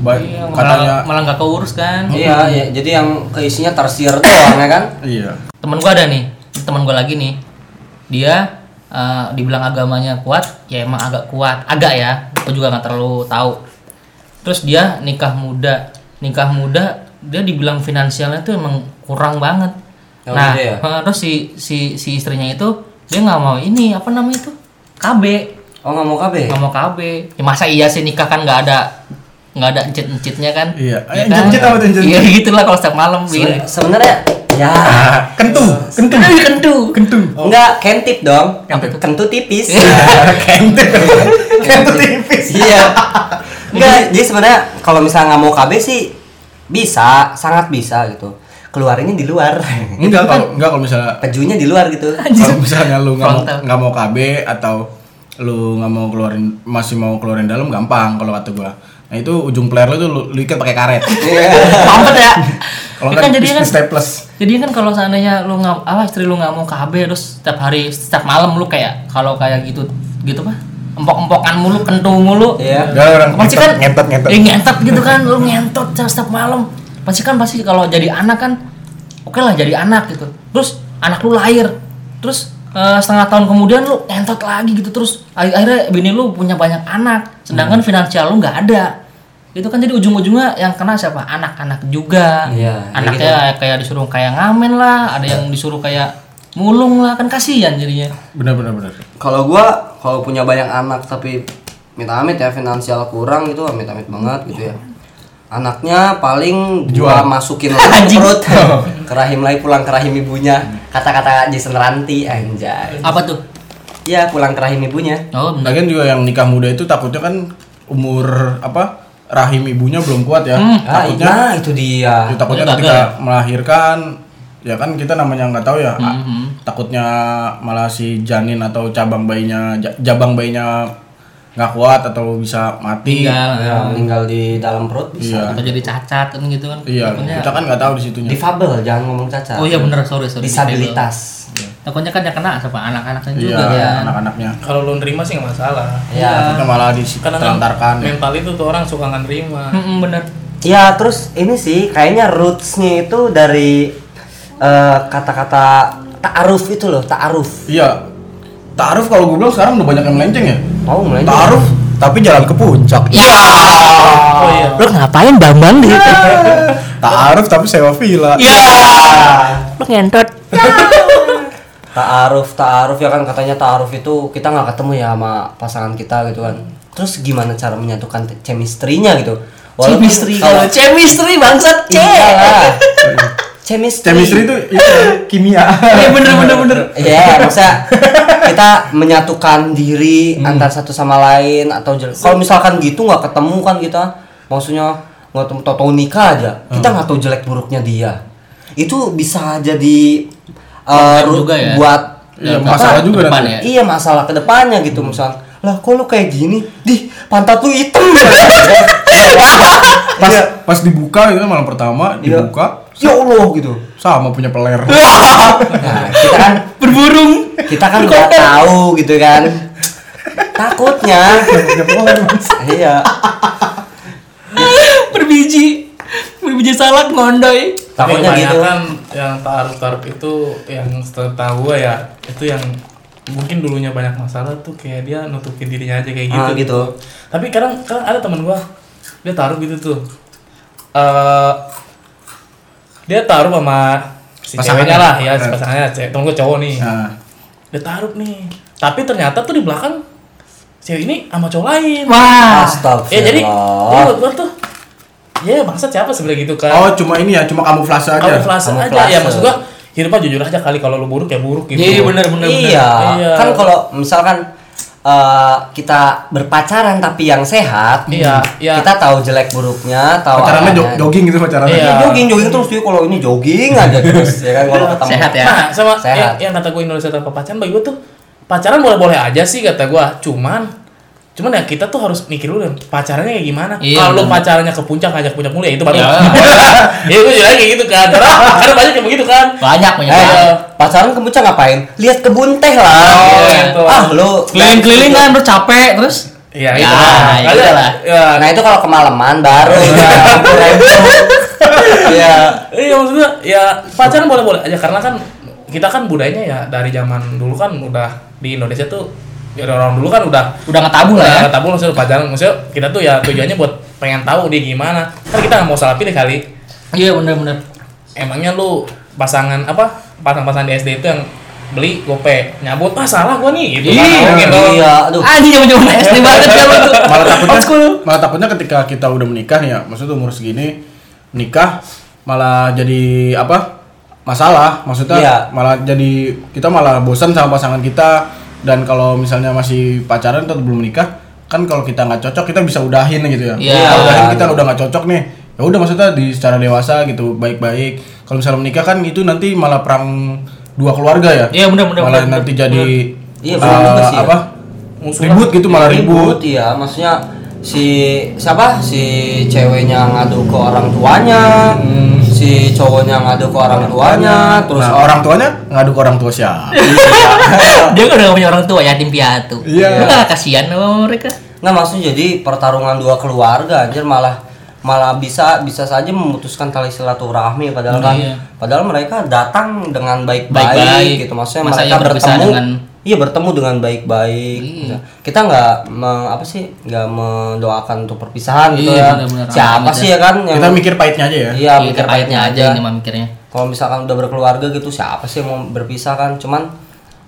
S1: ba-
S4: Iya,
S1: katanya
S4: malah, malah nggak keurus kan.
S3: Iya,
S1: Oh.
S3: iya, jadi yang keisinya tersier doang ya kan?
S1: iya
S4: temen gue ada nih temen gue lagi nih dia eh, dibilang agamanya kuat ya emang agak kuat agak ya gue juga nggak terlalu tahu terus dia nikah muda nikah muda dia dibilang finansialnya tuh emang kurang banget
S3: Oh,
S4: nah
S3: gitu ya?
S4: eh, terus si si si istrinya itu dia nggak mau ini apa namanya itu KB
S3: Oh nggak mau KB?
S4: nggak mau KB ya, masa iya sih nikah kan nggak ada nggak ada encit encitnya kan
S1: Iya.
S4: Ya
S1: Eh, encit-encit apa tuh encit-encit?
S4: iya gitulah kalau setiap malam
S3: Seben-
S4: gitu.
S3: Sebenarnya ya
S1: kentu kentu
S4: kentu
S1: kentu
S3: nggak kentip dong, kentu tipis.
S1: kentu Iya. kentu tipis
S3: Iya. Enggak, jadi sebenarnya kalau misalnya nggak mau KB sih bisa, sangat bisa gitu. Keluarinnya di luar.
S1: enggak kalau enggak kalau misalnya
S3: Pejunya di luar gitu.
S1: kalau misalnya lu nggak mau
S4: Frontal.
S1: nggak mau KB atau lu nggak mau keluarin masih mau keluarin dalam gampang kalau kata gua nah itu ujung player lu tuh lu, lu ikat pakai karet
S4: Mampet ya.
S1: kalau
S4: Ya
S1: nggak
S4: kan jadi kan
S1: staples
S4: jadi kan kalau seandainya lu nggak apa istri lu nggak mau KB terus setiap hari setiap malam lu kayak kalau kayak gitu gitu pak empok-empokan mulu kentung mulu
S3: Iya.
S1: Udah Ya, orang
S4: pasti kan
S1: ngentot ngentot.
S4: ya, ngentot gitu kan lu ngentot setiap, setiap malam pasti kan pasti kalau jadi anak kan oke lah jadi anak gitu terus anak lu lahir terus eh, setengah tahun kemudian lu ngentot lagi gitu terus ak- akhirnya bini lu punya banyak anak
S1: Hmm.
S4: sedangkan finansial lu nggak ada itu kan jadi ujung-ujungnya yang kena siapa anak-anak juga
S1: ya
S3: Iya,
S1: gitu
S4: anaknya kayak disuruh kayak ngamen lah ada yang disuruh kayak mulung lah kan kasihan jadinya
S1: Benar benar benar.
S3: Kalau gua kalau punya banyak anak tapi amit-amit ya finansial kurang gitu amit-amit banget gitu ya. Anaknya paling jual masukin lagi ke perut ke rahim lagi pulang ke rahim ibunya. Kata-kata Jason Ranti anjay.
S4: apa tuh
S3: Iya, pulang ke rahim ibunya.
S4: oh benar
S1: Lagian juga yang nikah muda itu takutnya kan umur apa rahim ibunya belum kuat ya.
S4: Hmm.
S3: Ah,
S1: Takutnya
S3: nah itu dia.
S1: ya, takutnya
S4: iya. Takutnya
S1: ketika
S4: gagal.
S1: melahirkan ya kan kita namanya nggak tahu ya. ah,
S4: Hmm.
S1: Takutnya malah si janin atau cabang bayinya ja- jabang bayinya nggak kuat atau bisa mati.
S4: tinggal
S3: Ya, meninggal di dalam perut bisa.
S1: Ah. Iya.
S4: atau jadi cacat kan gitu kan
S1: Iya,
S4: Takutnya-
S1: kita kan nggak tahu di situnya.
S3: Difabel, jangan ngomong cacat.
S4: Oh iya bener, sorry sorry.
S3: Disabilitas.
S4: Takutnya kan yang kena sama anak-anaknya
S1: Iya,
S4: juga Iya. ya.
S1: anak-anaknya.
S5: Kalau lu nerima sih nggak masalah.
S3: Ya.
S1: Takutnya malah
S5: Karena kan
S1: ditelantarkan. ya.
S5: mental itu tuh orang suka nggak nerima.
S4: Mm-mm, bener.
S3: Ya, terus ini sih kayaknya rootsnya itu dari eh, kata-kata ta'aruf itu loh, ta'aruf.
S1: Iya. Ta'aruf kalau gue bilang sekarang udah banyak yang melenceng ya.
S3: Mau mulai.
S1: Ta'aruf tapi jalan ke puncak.
S5: Oh
S6: ya,
S5: iya.
S4: Lo ngapain Bambang di situ?
S1: Ta'aruf tapi sewa villa.
S4: Iya. Lo ngentot.
S3: Ta'aruf, ta'aruf ya kan katanya ta'aruf itu kita nggak ketemu ya sama pasangan kita gitu kan. Terus gimana cara menyatukan te- chemistry-nya gitu?
S4: Chemistry kalau chemistry bangsat C.
S3: Iyalah. chemistry.
S1: Chemistry itu itu kimia.
S4: Iya bener bener bener.
S3: Iya, maksudnya kita menyatukan diri
S4: Hmm.
S3: antar satu sama lain atau jel- kalau misalkan gitu nggak ketemu kan kita, maksudnya nggak ketemu tau nikah aja, kita
S4: Hmm.
S3: nggak tahu jelek buruknya dia. Itu bisa jadi uh, ru-
S4: juga ya.
S3: buat
S1: Iya,
S4: Apa?
S1: masalah juga
S4: Depan
S1: nanti.
S4: ya? Hmm.
S3: iya masalah kedepannya gitu misalkan lah kok lu kayak gini di pantat lu hitam Iya.
S1: Pas
S4: Iya.
S1: pas dibuka itu malam pertama
S3: Iya.
S1: dibuka
S3: ya allah gitu
S1: sama punya peler.
S3: nah kita kan
S4: Berburung.
S3: kita kan nggak tahu gitu kan takutnya
S1: Punya peler, Mas.
S3: iya
S4: berbiji berbiji salak ngondoy
S3: Takutnya gitu.
S6: kebanyakan yang taruh taruh itu yang setahu gue ya itu yang mungkin dulunya banyak masalah tuh kayak dia nutupin dirinya aja kayak gitu
S3: Ah, gitu.
S6: tapi kadang kadang ada teman gua dia taruh gitu tuh Eh dia taruh sama si
S1: Pasangannya.
S6: ceweknya lah ya si
S1: Eh.
S6: pasangannya cewek temen gua cowok nih
S1: Nah,
S6: dia taruh nih tapi ternyata tuh di belakang cewek ini sama cowok lain
S3: Ah.
S4: wah
S3: Astagfirullah.
S6: ya jadi gua buat gua tuh ya bangsa siapa sebenarnya gitu kan
S1: oh cuma ini ya, cuma
S4: iya,
S1: kamuflase aja.
S6: kamu flase aja
S3: Kamuflase.
S6: ya maksud gua hidupnya jujur aja kali kalau lu buruk ya buruk gitu
S4: iya bener bener
S3: iya.
S6: Iya.
S3: Kan kalau misalkan eh, kita berpacaran tapi yang sehat,
S6: Iya, iya.
S3: kita tahu jelek buruknya, tahu
S4: Oh,
S1: Pacarannya
S3: apanya.
S1: jog- jogging gitu pacarannya.
S6: Iya.
S3: Iya, jogging jogging terus dia kalau ini jogging aja terus ya kan kalau ketemu
S4: Sehat ya.
S6: nah sama
S3: Sehat.
S6: Yang, yang kata gue Indonesia tanpa pacaran bagi gue tuh pacaran boleh boleh aja sih kata gua cuman cuman ya kita tuh harus mikir dulu deh, pacarannya kayak gimana
S4: Iya,
S6: kalau lu
S4: bener.
S6: pacarannya ke puncak ngajak puncak mulu ya itu baru
S4: Iya.
S6: ya gue juga kayak gitu kan karena karena banyak yang begitu kan
S4: banyak banyak
S3: Eh,
S4: banget.
S3: pacaran ke puncak ngapain? Lihat kebun teh lah.
S6: Iya.
S3: gitu. Ah, lu
S4: keliling keliling kan terus capek terus
S6: Iya,
S4: Ya,
S6: gitu lah.
S4: ya
S6: Karena-
S4: gitu lah.
S6: ya,
S3: Nah, itu kalau kemalaman baru ya. Iya.
S6: Iya maksudnya ya pacaran boleh-boleh aja karena kan kita kan budayanya ya dari zaman dulu kan udah di Indonesia tuh ya orang dulu kan udah
S4: udah ngetabu lah ya
S6: Nah, tabu maksudnya pacaran maksudnya kita tuh ya tujuannya buat pengen tahu dia gimana. Kan kita nggak mau salah pilih kali.
S4: iya bener bener
S6: Emangnya lu pasangan apa pasang-pasangan di SD itu yang beli gope nyabut ah salah gua nih gitu kan
S4: Iya,
S6: ngomongin dong.
S3: Iya, aduh.
S4: anjing zaman zaman SD banget ya lu tuh
S1: malah takutnya
S4: Old school.
S1: malah takutnya ketika kita udah menikah nih ya maksudnya umur segini nikah malah jadi apa masalah maksudnya
S3: Iya.
S1: malah jadi kita malah bosan sama pasangan kita dan kalau misalnya masih pacaran atau belum menikah kan kalau kita nggak cocok kita bisa udahin gitu ya
S4: Iya.
S1: Kita udahin kita udah nggak cocok nih ya udah maksudnya di secara dewasa gitu baik-baik kalau misalnya menikah kan itu nanti malah perang dua keluarga ya
S4: Iya, bener, bener,
S1: malah
S4: bener,
S1: nanti jadi
S3: Iya,
S1: eh,
S3: bener juga sih ya.
S1: apa
S6: Musuhan.
S1: ribut gitu malah ribut
S3: ribut ya maksudnya si siapa si ceweknya ngadu ke orang tuanya si cowoknya ngadu ke orang tuanya terus Iya.
S1: Nah, orang tuanya ngadu ke orang tua siapa?
S4: dia kan udah gak punya orang tua yatim piatu
S1: Iya.
S4: Lu kan kasihan sama mereka
S3: nah maksudnya jadi pertarungan dua keluarga anjir malah malah bisa bisa saja memutuskan tali silaturahmi padahal kan
S4: Iya.
S3: padahal mereka datang dengan
S4: Baik-baik.
S3: baik-baik gitu maksudnya mereka
S4: Masa iya berpisah
S3: bertemu
S4: dengan- Iya.
S3: iya bertemu dengan baik-baik kita nggak me- apa sih nggak mendoakan untuk perpisahan gitu
S4: Iya,
S3: ya
S4: benar-benar.
S3: siapa
S4: Amin aja.
S3: sih ya kan yang
S1: Kita mikir pahitnya aja ya.
S3: Iya,
S4: Iya,
S3: mikir
S4: pahitnya
S3: baiknya
S4: aja
S3: aja.
S4: ini mah mikirnya
S3: Kalau misalkan udah berkeluarga gitu, siapa sih yang mau berpisah kan? Cuman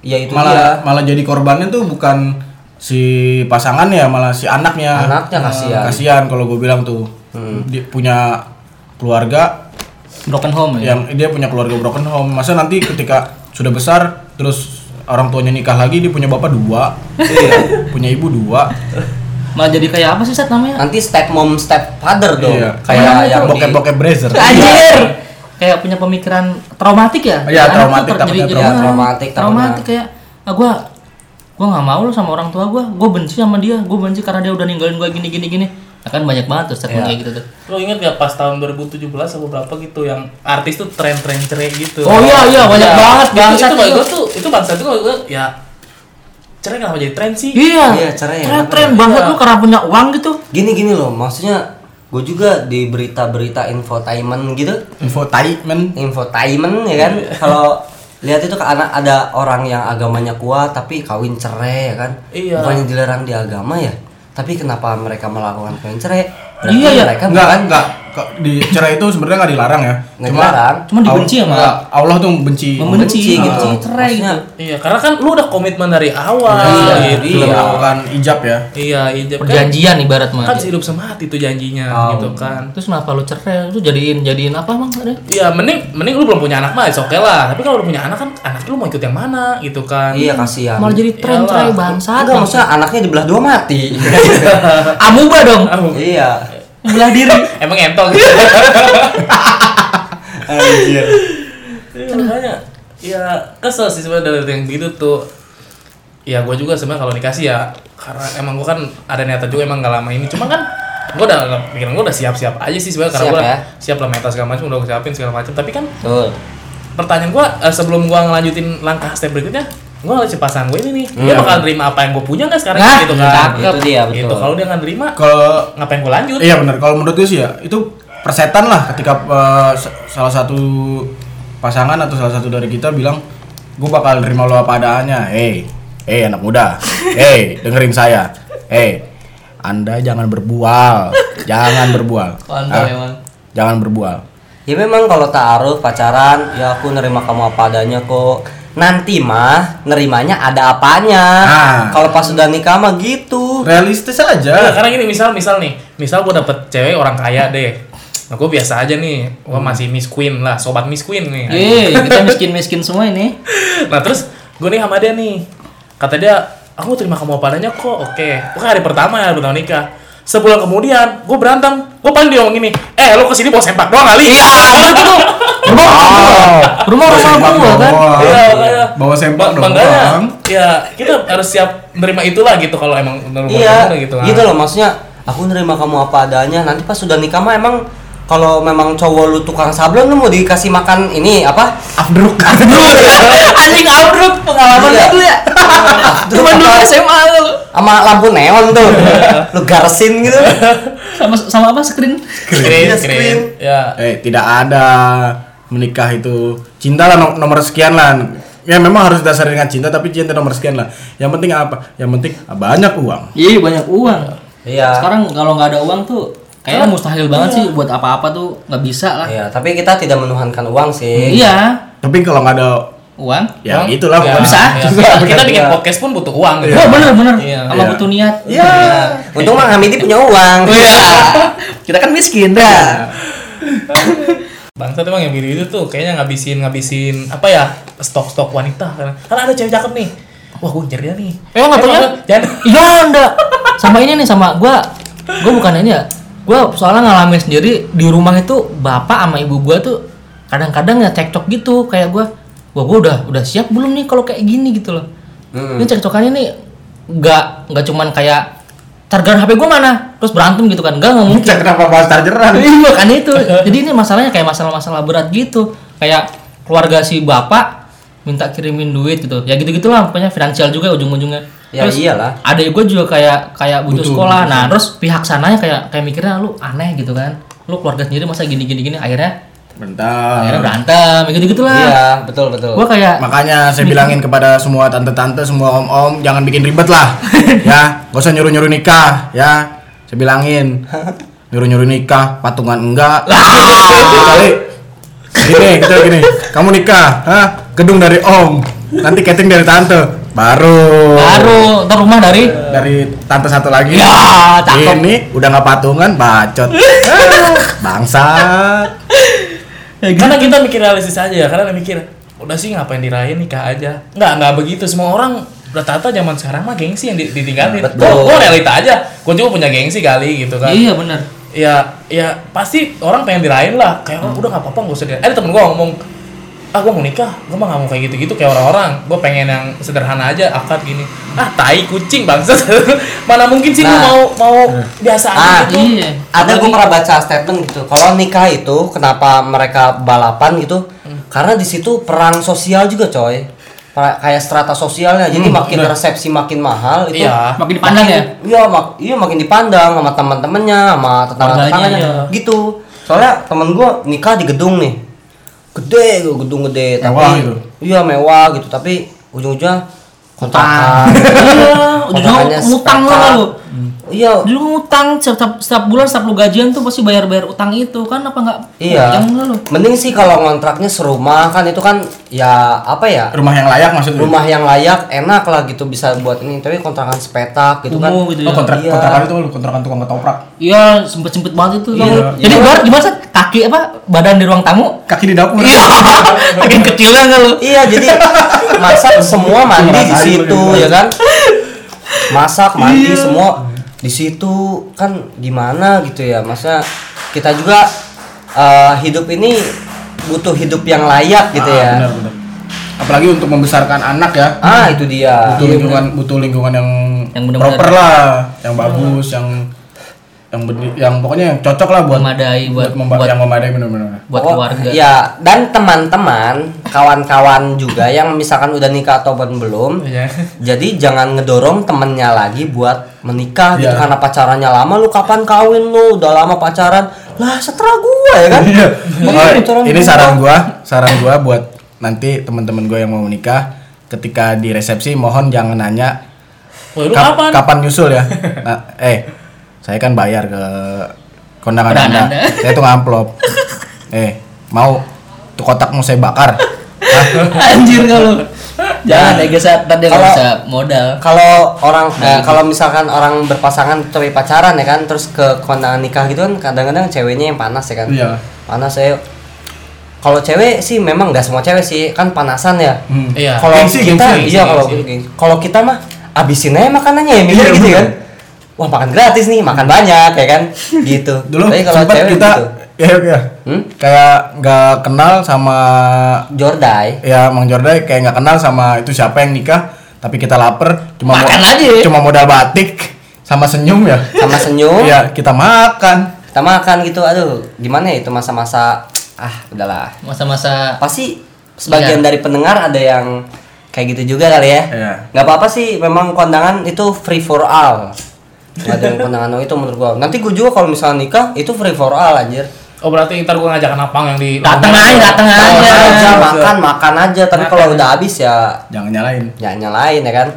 S3: ya itu
S1: Malah
S3: dia.
S1: malah jadi korbannya tuh bukan si pasangannya, malah si anaknya. Eh,
S3: Anaknya kasihan.
S1: Nah,
S3: Hmm.
S1: Kasihan kalau gue bilang tuh. Dia punya keluarga
S4: broken home
S3: Hmm.
S4: ya
S1: yang dia punya keluarga broken home. Masa nanti ketika sudah besar terus orang tuanya nikah lagi dia punya bapak dua,
S3: Iya.
S1: punya ibu dua.
S4: malah jadi kayak apa sih set namanya
S3: Nanti step mom, step father dong.
S1: Iya,
S3: Kayak yang di-
S1: bokep-bokep brazer.
S4: anjir kayak punya pemikiran traumatik ya
S1: Iya,
S4: Anak tuh
S1: traumatik,
S4: ter-
S1: takutnya
S4: jadi-
S3: trauma.
S4: jadi-
S3: Traumatik,
S4: traumatik
S3: takutnya.
S4: kayak ah gua gua nggak mau lu sama orang tua gua gua benci sama dia gua benci karena dia udah ninggalin gua gini gini gini akan banyak banget tuh statement kayak gitu tuh
S6: Lo inget gak pas tahun 2017 atau berapa gitu yang artis tuh tren-tren cerai gitu.
S4: Oh iya, iya, banyak banget,
S6: Itu-
S4: bangsat
S6: Itu, bagi
S4: itu.
S6: gua tuh itu bangsa itu gue ya cerai kenapa jadi tren sih?
S4: iya
S3: Iya, cerai ya,
S4: tren
S3: kenapa
S4: tren banget lu karena punya uang gitu
S3: Gini gini loh, maksudnya gue juga di berita-berita infotainment gitu,
S1: Infotainment.
S3: infotainment ya kan.
S4: Iya.
S3: Kalau lihat itu ke anak ada orang yang agamanya kuat tapi kawin cerai ya kan.
S6: Iya.
S3: Bukannya dilarang di agama ya? Tapi kenapa mereka melakukan kawin cerai?
S4: Iya, iya.
S1: Enggak,
S3: mereka Eh, bukan
S1: enggak. Kok Di cerai itu sebenarnya nggak dilarang ya.
S3: nggak dilarang.
S4: cuma dibenci ya
S1: Enggak,
S4: malah
S1: Allah tuh benci.
S4: membenci
S3: Benci
S4: gitu
S3: gitu.
S4: cerai gitu
S3: Maksudnya,
S6: Iya, karena kan lu udah komitmen dari awal
S3: Iya,
S6: gitu.
S1: Belum melakukan ijab ya.
S6: Iya, iya. Kan,
S4: perjanjian ibarat mah
S6: kan hidup semati itu janjinya
S3: Oh.
S6: gitu kan.
S4: terus kenapa lu cerai lu jadiin jadiin apa emang ada
S6: Iya, mending mending lu belum punya anak mah, it's okay lah. Tapi kalau lu punya anak kan anak lu mau ikut yang mana gitu kan.
S3: Iya kasihan.
S4: malah jadi tren
S6: Iyalah.
S4: cerai bangsat
S3: Enggak, maksudnya anaknya dibelah dua mati.
S4: amuba dong
S6: Ah,
S3: iya.
S4: belah diri
S6: Emang entong gitu.
S3: Anjir.
S6: Iya, makanya ya kesel sih sebenarnya dari yang gitu tuh ya gue juga sebenarnya kalau nikah sih ya karena emang gue kan ada niatan juga emang gak lama ini cuma kan gue udah pikiran gue udah siap-siap aja sih sebenarnya karena
S3: Siap
S6: gue udah
S3: ya?
S6: siap lah mental segala macam udah gue siapin segala macam tapi kan eh,
S3: Tuh.
S6: pertanyaan gue sebelum gue ngelanjutin langkah step berikutnya gue harus pasangan gue ini nih dia bakal nerima apa yang gue punya nggak sekarang
S4: Nah,
S6: gitu kan
S4: cakep.
S6: Gitu.
S3: Iya. Itu dia betul.
S6: gitu kalau dia nggak nerima
S1: Kalau
S6: ngapain gue lanjut
S1: Iya benar. Kalau menurut gue sih ya itu persetan lah ketika eh, s- salah satu pasangan atau salah satu dari kita bilang gue bakal nerima lo apa adanya. Hey, hey anak muda, hey dengerin saya, hey anda jangan berbual, jangan berbual,
S4: Kontol
S1: Ah,
S4: emang.
S1: jangan berbual.
S3: Ya memang kalau taruh pacaran, ya aku nerima kamu apa adanya kok. Nanti mah nerimanya ada apanya.
S1: Ah.
S3: Kalau pas sudah nikah mah
S4: Oh.
S3: gitu.
S1: Realistis
S6: Nggak,
S1: aja.
S4: Iya,
S6: karena Nah, gini misal misal nih misal gue dapet cewek orang kaya deh nah gue biasa aja nih gue masih miss queen lah sobat miss queen nih
S4: Yeay, kita miskin-miskin semua ini.
S6: nah terus gue nih sama dia nih kata dia aku terima kamu apa adanya kok oke Pokoknya hari pertama ya udah nikah sebulan kemudian gue berantem gue paling dia ngomong gini eh lu kesini bawa sempak doang kali iya
S4: Rumah
S1: Bawa
S4: rumah
S1: sempak
S4: gua kan.
S1: doang.
S6: Iya, makanya.
S1: Iya, Bawa sempak
S6: Ma-
S1: dong.
S6: makanya,
S1: Bang.
S6: ya kita harus siap menerima itulah gitu kalau emang bener
S3: Iya,
S6: gitu
S3: gitu,
S1: ah.
S6: lah
S3: loh maksudnya. Aku nerima kamu apa adanya. Nanti pas sudah nikah mah emang kalau memang cowok lu tukang sablon lu mau dikasih makan ini apa?
S1: Afdruk.
S4: Anjing abruk pengalaman
S3: Iya.
S4: lu ya. Cuman dulu SMA lu.
S3: Sama lampu neon tuh. lu garsin gitu.
S4: Sama sama apa screen?
S6: Screen,
S3: Iya,
S6: screen.
S3: screen.
S6: ya
S1: Eh, tidak ada menikah itu cinta lah no- nomor sekian lah. Ya memang harus dasar dengan cinta tapi cinta nomor sekian lah. Yang penting apa? Yang penting banyak uang.
S4: Iya, banyak uang.
S3: Iya.
S4: Sekarang kalau nggak ada uang tuh kayaknya mustahil banget sih buat apa-apa tuh nggak bisa lah.
S3: Iya, tapi kita tidak menuhankan uang sih.
S4: Iya,
S1: Tapi kalau nggak ada
S4: uang.
S1: ya
S6: Uang?
S1: itulah
S6: Ya,
S1: pokoknya.
S4: Bisa.
S6: ya. Kita, kita bikin podcast pun butuh uang gitu.
S4: Oh bener bener,
S6: Iya.
S1: Iya.
S4: sama
S1: Oh, iya.
S4: butuh niat.
S3: Iya. Untung Mang Hamidi punya uang.
S4: Iya. Kita kan miskin dah.
S6: Bangsa tuh emang yang gitu tuh kayaknya ngabisin ngabisin apa ya stok-stok wanita karena, karena ada cewek cakep nih. Wah, gue ngejar dia nih.
S4: Eh, nggak taunya?
S6: Emang, Jangan.
S4: Iya anda. Sama ini nih sama gua, gua bukan ini ya. Gua soalnya ngalamin sendiri di rumah itu bapak sama ibu gua tuh kadang-kadang ya cekcok gitu kayak gua, wah gua udah udah siap belum nih kalau kayak gini gitu loh. Ini cekcokannya nih nggak nggak cuman kayak charger HP gua mana terus berantem gitu kan nggak nggak mungkin.
S1: Cek kenapa bahas chargeran?
S4: Iya kan itu. Jadi ini masalahnya kayak masalah-masalah berat gitu. Kayak keluarga si bapak minta kirimin duit gitu. Ya gitu-gitulah pokoknya finansial juga ujung-ujungnya.
S3: Ya iyalah.
S4: Ada gue juga kayak kayak butuh sekolah. Nah, terus pihak sananya kayak kayak mikirnya lu aneh gitu kan. Lu keluarga sendiri masa gini-gini gini akhirnya akhirnya
S1: Bentar.
S4: berantem Ya gitu-gitulah.
S3: Ah. Iya, betul betul.
S4: Gue kayak
S1: Makanya saya bilangin kepada semua tante-tante, semua om-om, jangan bikin ribet lah. ya, gak usah nyuruh-nyuruh nikah, ya. Saya bilangin. Nyuruh-nyuruh nikah, patungan enggak. Kali gini, kita gini. Kamu nikah, hah? Gedung dari om. Nanti catering dari tante. Baru.
S4: baru ntar rumah dari
S1: Dari tante satu lagi.
S4: Ya, cakep.
S1: Ini udah nggak patungan, bacot. Ah, Bangsat.
S4: Ya gitu.
S6: Karena kita mikir realistis aja, ya, karena mikir udah sih ngapain dirayain nikah aja. Nggak, nggak begitu semua orang rata-rata zaman sekarang mah gengsi yang di- ditingkatin.
S3: Betul.
S6: Gua, gua realita aja. Gua juga punya gengsi kali gitu kan.
S4: Iya bener
S6: ya ya pasti orang pengen dirayain lah kayak orang udah nggak apa-apa nggak usah dirayain ada temen gue ngomong ah gue mau nikah gue mah nggak mau kayak gitu-gitu kayak orang-orang gue pengen yang sederhana aja akad gini ah tai kucing bangsa mana mungkin sih lu
S3: Nah.
S6: mau mau biasa aja
S3: Ah,
S6: gitu
S4: Hmm. Iya.
S3: Ada gue pernah baca statement gitu. Kalau nikah itu kenapa mereka balapan gitu?
S4: Hmm.
S3: Karena di situ perang sosial juga, coy. Pra- kayak strata sosialnya. Jadi
S1: Hmm,
S3: makin resepsi makin mahal itu.
S6: Iya.
S4: Makin dipandang ya.
S3: Iya, mak iya makin dipandang sama teman-temannya, sama tetangga-tetangganya
S4: Keluarganya,
S3: gitu. Soalnya temen gua nikah di gedung nih. Gede, gedung gede, tapi
S1: Mewah gitu.
S3: iya mewah gitu, tapi ujung-ujungnya kontrakan.
S4: Iya,
S3: Kontrakannya
S4: ujungnya ngutang lu
S3: sepakat.
S4: nggak lu.
S3: Iya,
S4: Dulu ngutang setiap, setiap bulan setiap lu gajian tuh pasti bayar-bayar utang itu kan apa nggak?
S3: Iya.
S4: Jangan nggak lu.
S3: Mending sih kalau kontraknya serumah kan itu kan ya apa ya?
S1: Rumah yang layak maksudnya.
S3: Rumah yang layak enak lah gitu bisa buat ini tapi kontrakan sepetak gitu kan.
S4: Kumuh gitu
S1: Oh,
S4: ya.
S1: kontrak
S3: Iya.
S1: kontrakan itu kontrakan tukang ketoprak.
S4: Iya, sempet-sempet banget itu.
S1: Iya.
S4: Jadi ibarat gimana sih? Kaki apa? Badan di ruang tamu?
S1: Kaki di dapur.
S4: Iya. Makin kecilnya nggak lu?
S3: Iya jadi masak semua mandi di
S1: Ngerasain
S3: situ
S1: lu gitu.
S3: ya kan. Masak
S4: Iya.
S3: mandi semua di situ kan gimana gitu ya maksudnya kita juga eh, hidup ini butuh hidup yang layak gitu
S1: Ah,
S3: ya.
S1: benar, benar. Apalagi untuk membesarkan anak ya.
S3: Ah itu dia.
S1: butuh lingkungan butuh lingkungan yang,
S4: Yang benar-benar.
S1: proper lah, yang bagus, yang yang beni- yang pokoknya yang cocok lah buat
S4: memadai buat
S1: memba-
S4: buat
S1: yang memadai benar-benar.
S4: buat
S3: Oh,
S4: keluarga.
S3: Ya, dan teman-teman, kawan-kawan juga yang misalkan udah nikah ataupun belum.
S6: Iya.
S3: Jadi jangan ngedorong temennya lagi buat menikah
S1: Iya.
S3: gitu karena pacarannya lama lu kapan kawin lu udah lama pacaran lah setelah gua ya kan
S1: Iya. Makanya
S3: pacaran
S1: ini
S3: gua.
S1: saran gua, saran gua buat nanti teman-teman gua yang mau nikah ketika di resepsi mohon jangan nanya
S6: Woi, lu
S1: "Kap-
S6: kapan?
S1: nyusul ya. Nah, eh, saya kan bayar ke kondangan
S4: Kondangan
S1: Anda.
S4: Anda.
S1: Saya tuh ngamplop. eh, mau tuh kotak mau saya bakar.
S4: Anjir kalau. Jangan ya guys, ntar dia nggak
S3: Kalau-
S4: bisa modal.
S3: kalau orang
S4: Nah,
S3: eh,
S4: gitu.
S3: kalau misalkan orang berpasangan tapi pacaran ya kan terus ke kondangan nikah gitu kan kadang-kadang ceweknya yang panas ya kan
S1: Iya.
S3: panas saya kalau cewek sih memang nggak semua cewek sih kan panasan ya
S6: Iya.
S3: kalau
S1: Hmm. Gengsi,
S3: kita
S1: gengsi,
S3: iya kalau kalau kita mah abisin aja makanannya ya mikir
S1: Iya,
S3: gitu
S1: bener.
S3: kan wah makan gratis nih makan banyak ya kan gitu
S1: Dulu
S3: tapi kalau
S1: sempat
S3: cewek
S1: kita
S3: gitu
S1: ya, ya.
S3: Hmm?
S1: kayak nggak kenal sama
S3: Jordai
S1: ya Mang Jordai kayak nggak kenal sama itu siapa yang nikah tapi kita lapar cuma
S4: Makan aja ya.
S1: cuma modal batik sama senyum ya
S3: sama senyum
S1: Iya, kita makan.
S3: kita makan gitu aduh gimana ya itu masa-masa ah udahlah Iya.
S4: Masa-masa
S3: pasti sebagian dari pendengar ada yang kayak gitu juga kali ya
S1: Iya.
S3: nggak apa-apa sih memang kondangan itu free for all nggak ada yang kondangan oh, itu menurut gua nanti gua juga kalau misalnya nikah itu free for all anjir
S6: Oh berarti ntar gua ngajak napang yang di
S4: datang aja, datang
S3: Makan
S4: aja.
S3: aja, makan makan aja tapi kalau udah habis ya
S1: Jangan nyalain.
S3: ya nyalain ya kan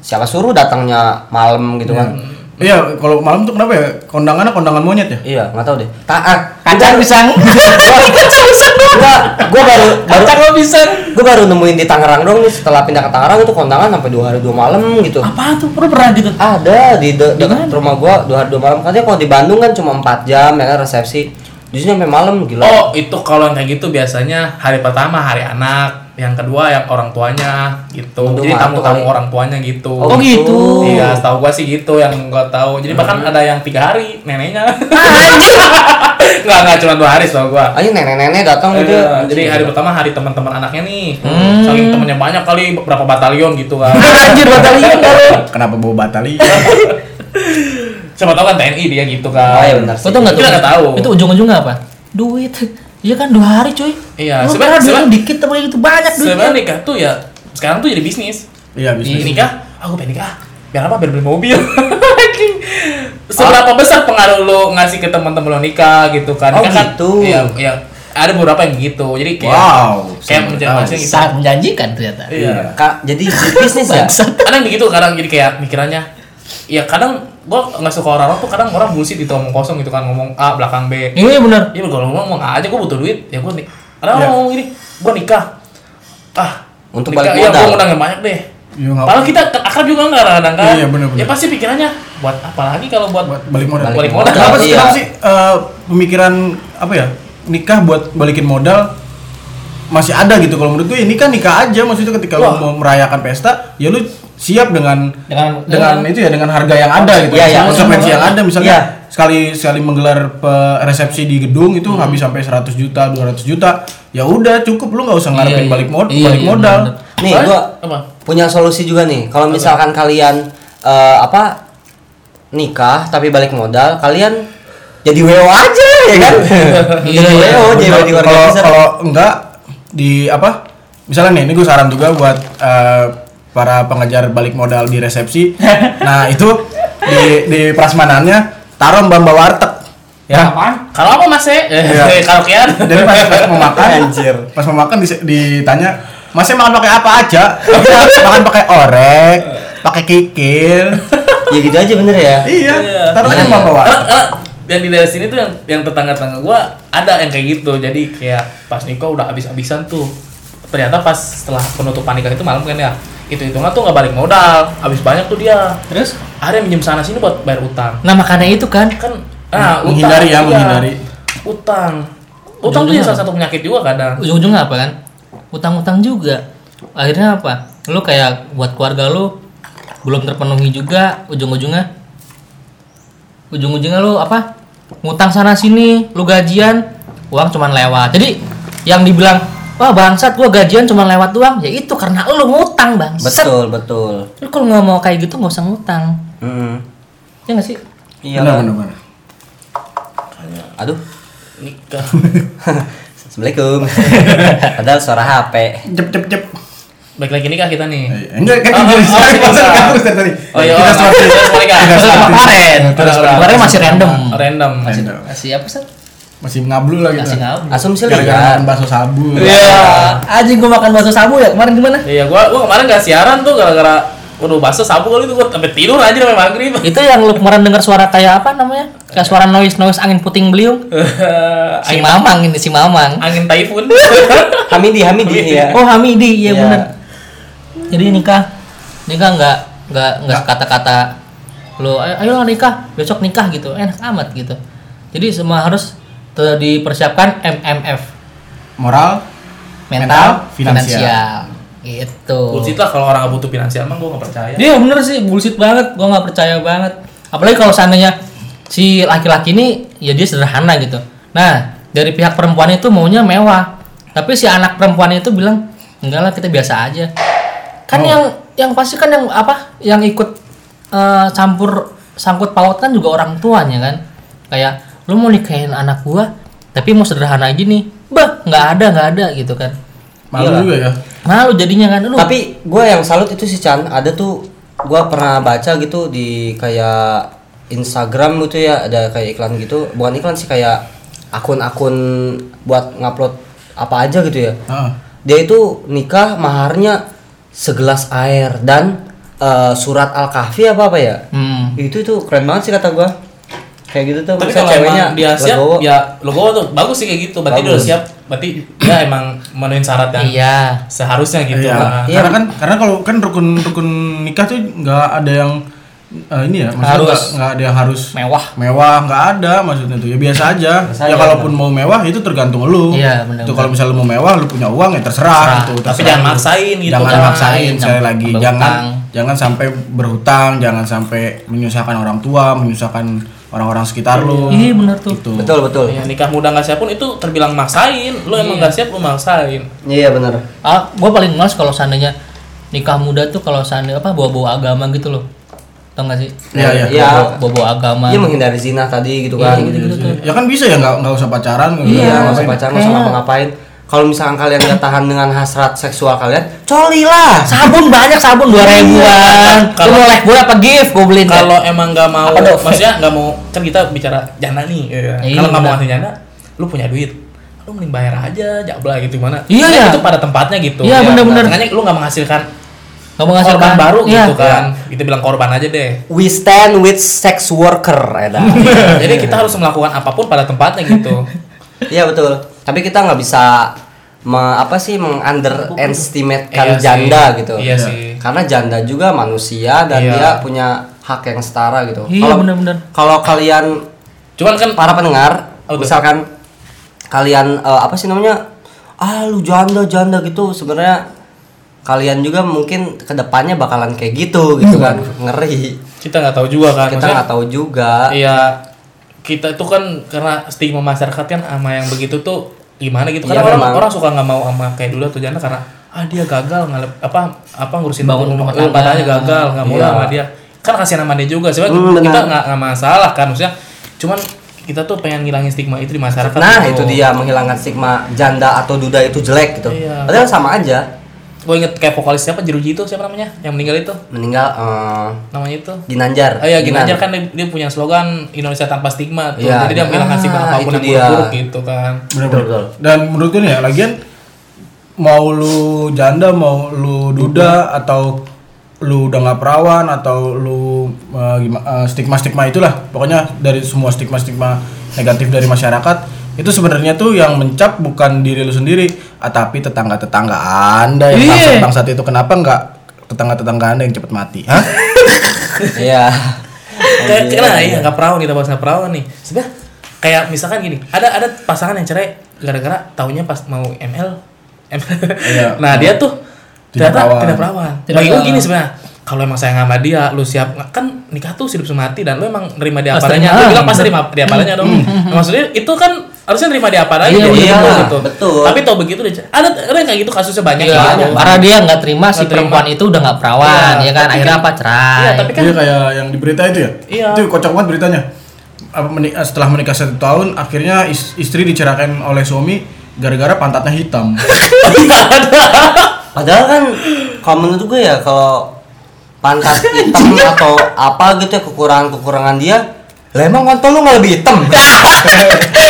S3: siapa suruh datangnya malam gitu kan
S1: Iya, kalau malam tuh kenapa ya? Kondangannya kondangan monyet ya?
S3: iya nggak tahu deh taat
S4: Kacang pisang. Kacang pisang doang.
S3: gua gua baru baru
S4: Kacang lo pisang.
S3: gua baru nemuin di Tangerang dong nih setelah pindah ke Tangerang itu kondangan sampai dua hari dua malam gitu
S4: Apa tuh? Pernah pernah gitu?
S3: ada di de- dekat
S4: mana?
S3: rumah gua dua hari dua malam katanya kalau di Bandung kan cuma empat jam ya kan resepsi di sini sampai malam gila
S6: Oh itu kalau yang kayak gitu biasanya hari pertama hari anak, yang kedua yang orang tuanya gitu.
S3: Aduh,
S6: Jadi
S3: ngantuk
S6: tamu tamu
S3: kali.
S6: orang tuanya gitu.
S4: Oh, gitu.
S6: Iya, setahu gua sih gitu yang gua tahu. Jadi bahkan
S3: Hmm.
S6: ada yang tiga hari neneknya.
S3: Ah,
S6: nggak nggak cuma dua hari setahu gua.
S3: aja nenek-nenek datang gitu Hmm.
S6: Iya, jadi hari pertama hari teman-teman anaknya nih. Saking temennya banyak kali berapa batalion gitu kan.
S4: Anjir batalion kalau.
S1: Kenapa bawa batali?
S6: Siapa tahu kan TNI dia gitu kan.
S3: oh iya benar sih
S4: Betul nggak tuh?
S6: Kita nggak tahu.
S4: Itu ujung-ujungnya apa? Duit. Iya kan dua hari cuy.
S6: Iya,
S4: Lu kan
S6: sebenarnya-
S4: duit
S6: sebenarnya-
S4: lu dikit tapi itu banyak duitnya.
S6: Sebenarnya nikah tuh ya sekarang tuh jadi bisnis.
S1: Iya,
S6: Di
S1: bisnis.
S6: nikah, aku pengen nikah. Biar apa? Biar beli mobil. Anjing. Seberapa
S1: Oh.
S6: besar pengaruh lo ngasih ke teman-teman lo nikah gitu kan?
S3: Oh,
S6: Nikah kan,
S3: gitu.
S6: Iya, iya. Ada beberapa yang gitu. Jadi kayak
S1: Wow,
S6: kayak
S1: saya
S6: menjadi
S1: tahu.
S6: manusia gitu.
S4: Sangat menjanjikan ternyata.
S6: ya?
S1: Iya.
S3: Kak, jadi bisnis ya
S4: Bangsat.
S6: kadang begitu kadang jadi kayak mikirannya ya kadang gua nggak suka orang-orang tuh kadang orang bullshit gitu omong kosong gitu kan ngomong A belakang B
S4: Iya benar.
S6: ya gua ngomong ngomong A aja gua butuh duit ya gua nih kadang
S1: Iya.
S6: orang ngomong gini gua nikah ah
S3: Untuk
S6: nikah,
S3: balik
S6: ya
S3: modal.
S6: gua ngundang yang banyak deh
S1: Iya, nggak-
S6: Padahal kita ke- akrab juga nggak kadang-kadang kan?
S1: Iya, bener-bener.
S6: Ya pasti pikirannya buat apa lagi kalau buat,
S1: Buat balik modal.
S6: balik
S3: Balik
S6: modal.
S3: modal.
S1: Kenapa sih,
S3: Iya.
S1: kenapa sih eh, pemikiran apa ya? Nikah buat balikin modal masih ada gitu kalau menurut gue ya nikah nikah aja maksudnya ketika lo
S6: Wah.
S1: mau merayakan pesta ya lu siap dengan
S4: Dengan-
S1: dengan itu ya dengan harga yang ada gitu
S3: Iya, iya.
S1: konsekuensi yang ada misalnya
S3: Iya.
S1: sekali sekali menggelar pe- resepsi di gedung itu habis sampai 100 juta 200 juta ya udah cukup lu nggak usah ngarepin
S4: Iya, iya.
S1: balik mod
S4: Iya,
S1: balik
S4: iya,
S1: modal
S4: bener.
S3: nih
S6: Apa?
S3: gua
S6: apa?
S3: punya solusi juga nih. Kalau misalkan kalian eh, apa nikah tapi balik modal, kalian jadi WO aja ya kan?
S4: Iya,
S3: jadi
S4: iya.
S3: WO, jadi
S1: Bener,
S3: wedding
S1: kalau
S3: organizer.
S1: kalau enggak di apa misalnya nih ini gue saran juga buat eh, para pengejar balik modal di resepsi nah itu di di prasmanannya taruh mbak mbak warteg ya
S6: Kalau apa mas eh?
S1: Iya.
S6: Eh, karaokean.
S1: jadi pas, pas mau makan
S3: Anjir.
S1: pas mau makan dise- ditanya masnya makan pakai apa aja makan pakai orek pakai kikil
S3: Ya gitu aja bener ya.
S1: iya taruh aja mbak mbak warteg
S6: Eh, eh, yang di daerah sini tuh yang yang tetangga-tetangga gua ada yang kayak gitu. Jadi kayak pas nikah udah habis-habisan tuh. Ternyata pas setelah penutupan nikah itu malam kan ya. Itu hitungan tuh nggak balik modal. Habis banyak tuh dia.
S4: Terus?
S6: Ada yang minjem sana sini buat bayar utang.
S4: Nah makanya itu kan.
S6: Kan nah, utang,
S1: Menghindari ya,
S6: iya.
S1: menghindari.
S6: Utang. Utang tuh ya salah satu penyakit juga kadang.
S4: ujung-ujungnya apa kan utang-utang juga akhirnya apa lu kayak buat keluarga lu belum terpenuhi juga ujung-ujungnya ujung-ujungnya lu apa ngutang sana sini lu gajian uang cuman lewat jadi yang dibilang wah bangsat gua gajian cuman lewat doang ya itu karena lu ngutang bangsat
S3: Betul, betul.
S4: lu kalau nggak mau kayak gitu nggak usah ngutang
S3: Mm.
S4: ya nggak sih
S3: Iya.
S1: benar
S3: kan?
S1: benar benar
S3: Aduh.
S6: nikah
S3: Assalamualaikum. Padahal suara HP.
S1: Jep jep jep.
S6: baik lagi nikah kita nih
S1: Enggak kan
S6: Oh,
S1: kita
S6: oh,
S1: bisa
S6: oh,
S1: kita
S6: bisa.
S1: terus dari tadi.
S6: oh iya
S1: Kita
S6: orang
S1: stop.
S6: kita semua nikah
S1: Kita stop.
S4: kemarin
S6: Terus,
S4: kemarin
S6: terus.
S4: masih random
S1: Hmm.
S6: random
S1: Masih-
S4: masih apa sih
S1: Masih ngablu lah gitu.
S4: masih ngablu
S3: Asumsi
S1: Gara-gara makan
S3: liar.
S1: bakso sabu.
S4: Iya, aja gue makan bakso sabu ya kemarin gimana?
S6: iya gua gua kemarin gak siaran tuh gara-gara waduh bahasa sabu kali itu gua sampai tidur aja sampai maghrib
S4: Itu yang lu kemarin dengar suara kayak apa namanya? Kayak suara noise noise angin puting beliung. Si
S6: angin,
S4: Mamang ini si Mamang.
S6: angin typhoon
S3: Hamidi, Hamidi ya.
S4: Oh Hamidi,
S3: Iya.
S4: iya bener. Jadi nikah, nikah nggak nggak nggak kata-kata lo ayo ayo lah nikah besok nikah gitu enak amat gitu. Jadi semua harus te- dipersiapkan MMF
S1: Moral
S4: mental,
S1: Mental, finansial.
S4: finansial. Gitu.
S6: bullshit lah kalau orang gak butuh finansial emang gua gak percaya
S4: Iya bener sih bullshit banget, gua nggak percaya banget. Apalagi kalau seandainya si laki-laki ini ya dia sederhana gitu. Nah dari pihak perempuan itu maunya mewah, tapi si anak perempuan itu bilang enggak lah kita biasa aja. Kan yang yang pasti kan yang apa yang ikut eh, campur sangkut paut kan juga orang tuanya kan. Kayak lu mau nikahin anak gua tapi mau sederhana gini, bah nggak ada nggak ada gitu kan.
S1: malu
S3: Iyalah.
S1: juga ya.
S4: Malu jadinya kan lu.
S3: Tapi gue yang salut itu sih Chan, ada tuh gue pernah baca gitu di kayak Instagram gitu ya, ada kayak iklan gitu. Bukan iklan sih kayak akun-akun buat ngupload apa aja gitu ya.
S1: Heeh.
S3: Dia itu nikah maharnya segelas air dan eh, surat Al-Kahfi apa apa ya.
S4: Hmm.
S3: Itu itu keren banget sih kata gua. Kayak gitu tuh
S6: tapi
S3: maksudnya
S6: kalau emang dia siap
S3: legowo.
S6: ya logo tuh bagus sih kayak gitu berarti dia udah
S3: Bagus.
S6: siap berarti dia emang menuin syarat yang
S4: Iya.
S6: seharusnya gitu
S1: Iya.
S6: lah.
S3: Iya.
S1: Karena kan karena kalau kan rukun-rukun nikah tuh nggak ada yang eh, ini ya, maksudnya
S4: Harus.
S1: nggak- nggak ada yang harus
S4: Mewah.
S1: mewah nggak ada maksudnya tuh ya biasa aja
S3: Biasa
S1: ya
S3: aja,
S1: kalaupun mau mewah itu tergantung lu
S4: Iya, benar,
S1: itu kalau misalnya lu mau mewah lu punya uang ya terserah, gitu
S6: tapi
S1: terserah
S6: jangan
S1: lu.
S6: maksain gitu
S1: jangan
S6: kan.
S1: maksain
S4: jangan
S1: sekali lagi
S4: berhutang.
S1: jangan jangan sampai berhutang jangan sampai menyusahkan orang tua menyusahkan orang-orang sekitar lu
S4: Iya, benar tuh.
S1: Gitu.
S3: Betul betul.
S6: Ya, nikah muda nggak siap pun itu terbilang maksain lu
S4: Iya.
S6: emang nggak siap lu maksain
S3: Iya benar.
S4: Ah, gue paling males kalau seandainya nikah muda tuh kalau seandainya apa bawa-bawa agama gitu loh. Tau gak sih?
S1: Iya, iya.
S3: Iya.
S4: Bawa-
S6: Ya.
S4: Bawa-bawa agama. Iya,
S3: Dia menghindari zina tadi gitu
S6: Iya,
S3: kan.
S4: gitu-gitu tuh.
S1: ya kan bisa ya nggak nggak usah pacaran nggak
S3: Iya, nggak
S1: usah gitu.
S3: usah
S1: ngapain.
S3: pacaran, nggak usah ngapa-ngapain. Kalau misalkan kalian nggak tahan dengan hasrat seksual kalian, coli lah.
S4: Sabun banyak sabun 2000 ribuan. Lu
S6: Iya. Kalau-
S4: mau like gue apa gift gue beliin. deh.
S6: kalau emang nggak mau
S4: Apa dong?
S6: maksudnya nggak mau kan kita bicara jana nih ya.
S4: Iya,
S6: kalau nggak
S4: benar.
S6: mau ngasih jana lu punya duit lu mending bayar aja jabla gitu gimana
S4: Iya,
S6: Nah,
S4: ya.
S6: itu pada tempatnya gitu
S4: Iya, benar-benar.
S6: makanya lu nggak menghasilkan
S4: Nggak menghasilkan
S6: korban baru
S4: Iya.
S6: gitu kan kita bilang korban aja deh
S3: We stand with sex worker, eh, Eda.
S6: jadi kita harus melakukan apapun pada tempatnya gitu
S3: Iya betul. Tapi kita nggak bisa me- apa sih
S6: Iya
S3: mengunderestimatekan
S6: sih.
S3: janda gitu.
S6: Iya sih.
S3: Karena janda juga manusia dan
S6: Iya.
S3: dia punya hak yang setara gitu.
S4: Iya,
S3: Kalau-
S4: benar-benar.
S3: Kalau kalian
S6: cuman kan
S3: para pendengar,
S6: Oh, betul.
S3: misalkan kalian eh, apa sih namanya? Ah, lu janda janda gitu sebenarnya kalian juga mungkin kedepannya bakalan kayak gitu gitu kan ngeri
S6: kita nggak tahu juga kan
S3: kita
S6: Maksudnya-
S3: nggak tahu juga
S6: Iya, kita itu kan karena stigma masyarakat kan sama yang begitu tuh gimana gitu. Karena
S3: Iya,
S6: orang
S3: memang.
S6: orang suka nggak mau sama kayak dulu tuh jana karena ah dia gagal ngalep apa apa ngurusin
S4: Bangun rumah tangga.
S6: tangganya gagal nggak mau lah
S3: Iya.
S6: sama dia. Kan kasihan sama dia juga. Sebenarnya
S3: Hmm,
S6: kita
S3: benar.
S6: nggak nggak masalah kan maksudnya. Cuman kita tuh pengen ngilangin stigma itu di masyarakat.
S3: nah
S6: gitu.
S3: itu dia menghilangkan stigma janda atau duda itu jelek gitu
S6: Iya.
S3: padahal sama aja
S6: Gue inget kayak vokalis siapa Jeruji itu siapa namanya yang meninggal itu
S3: meninggal eh,
S6: namanya itu.
S3: Ginanjar
S6: Oh iya
S3: Ginan.
S6: Ginanjar kan dia, dia punya slogan Indonesia tanpa stigma tuh.
S3: Iya,
S6: Jadi dia
S3: iya.
S6: menghilangkan stigma
S3: Ah,
S6: apapun
S3: itu
S6: yang
S3: dia.
S6: buruk-buruk gitu kan.
S1: Bener-bener.
S3: Betul, betul.
S1: Dan menurut gue nih ya, lagian mau lu janda, mau lu duda atau lu udah nggak perawan atau lu eh, stigma stigma itulah pokoknya dari semua stigma stigma negatif dari masyarakat itu sebenarnya tuh yang mencap bukan diri lu sendiri ah, tapi tetangga tetangga anda yang bangsat bangsat itu kenapa nggak tetangga tetangga anda yang cepet mati Hah?
S3: iya
S6: kayak kenapa iya nggak perawan kita bahas nggak perawan nih sebenarnya kayak misalkan gini ada ada pasangan yang cerai gara-gara taunya pas mau ML, ML.
S1: Iya.
S6: nah dia tuh
S1: Tidak
S6: ternyata
S1: perawan.
S6: tidak perawan
S4: Tidak
S6: bagi gue
S4: perawan.
S6: gini sebenarnya kalau emang sayang sama dia lu siap kan nikah tuh hidup semati dan lu emang nerima dia apa
S4: Pasti
S6: adanya
S4: nerima.
S6: lu bilang pasti nerima dia apa adanya dong Nah, maksudnya itu kan harusnya nerima dia apa adanya
S4: Iya,
S6: jadi
S3: iya,
S6: betul
S3: betul.
S6: tapi tau begitu dia cerai. ada ada yang kayak gitu kasusnya banyak
S4: Iya,
S6: banget.
S4: karena dia nggak terima si
S6: Nggak terima.
S4: perempuan itu udah nggak perawan,
S6: Iya,
S4: ya kan?
S6: tapi
S4: Akhirnya
S6: kan-
S4: apa cerai?
S6: Iya, tapi kan
S1: Iya kayak yang di berita itu ya?
S6: Iya.
S1: Itu kocak banget beritanya. Eh apa, meni- eh, setelah menikah satu tahun akhirnya is- istri diceraikan oleh suami gara-gara pantatnya hitam.
S3: Padahal kan kalau menurut gue ya kalau pantat hitam atau apa gitu ya kekurangan-kekurangan dia lah emang kontol lu nggak lebih hitam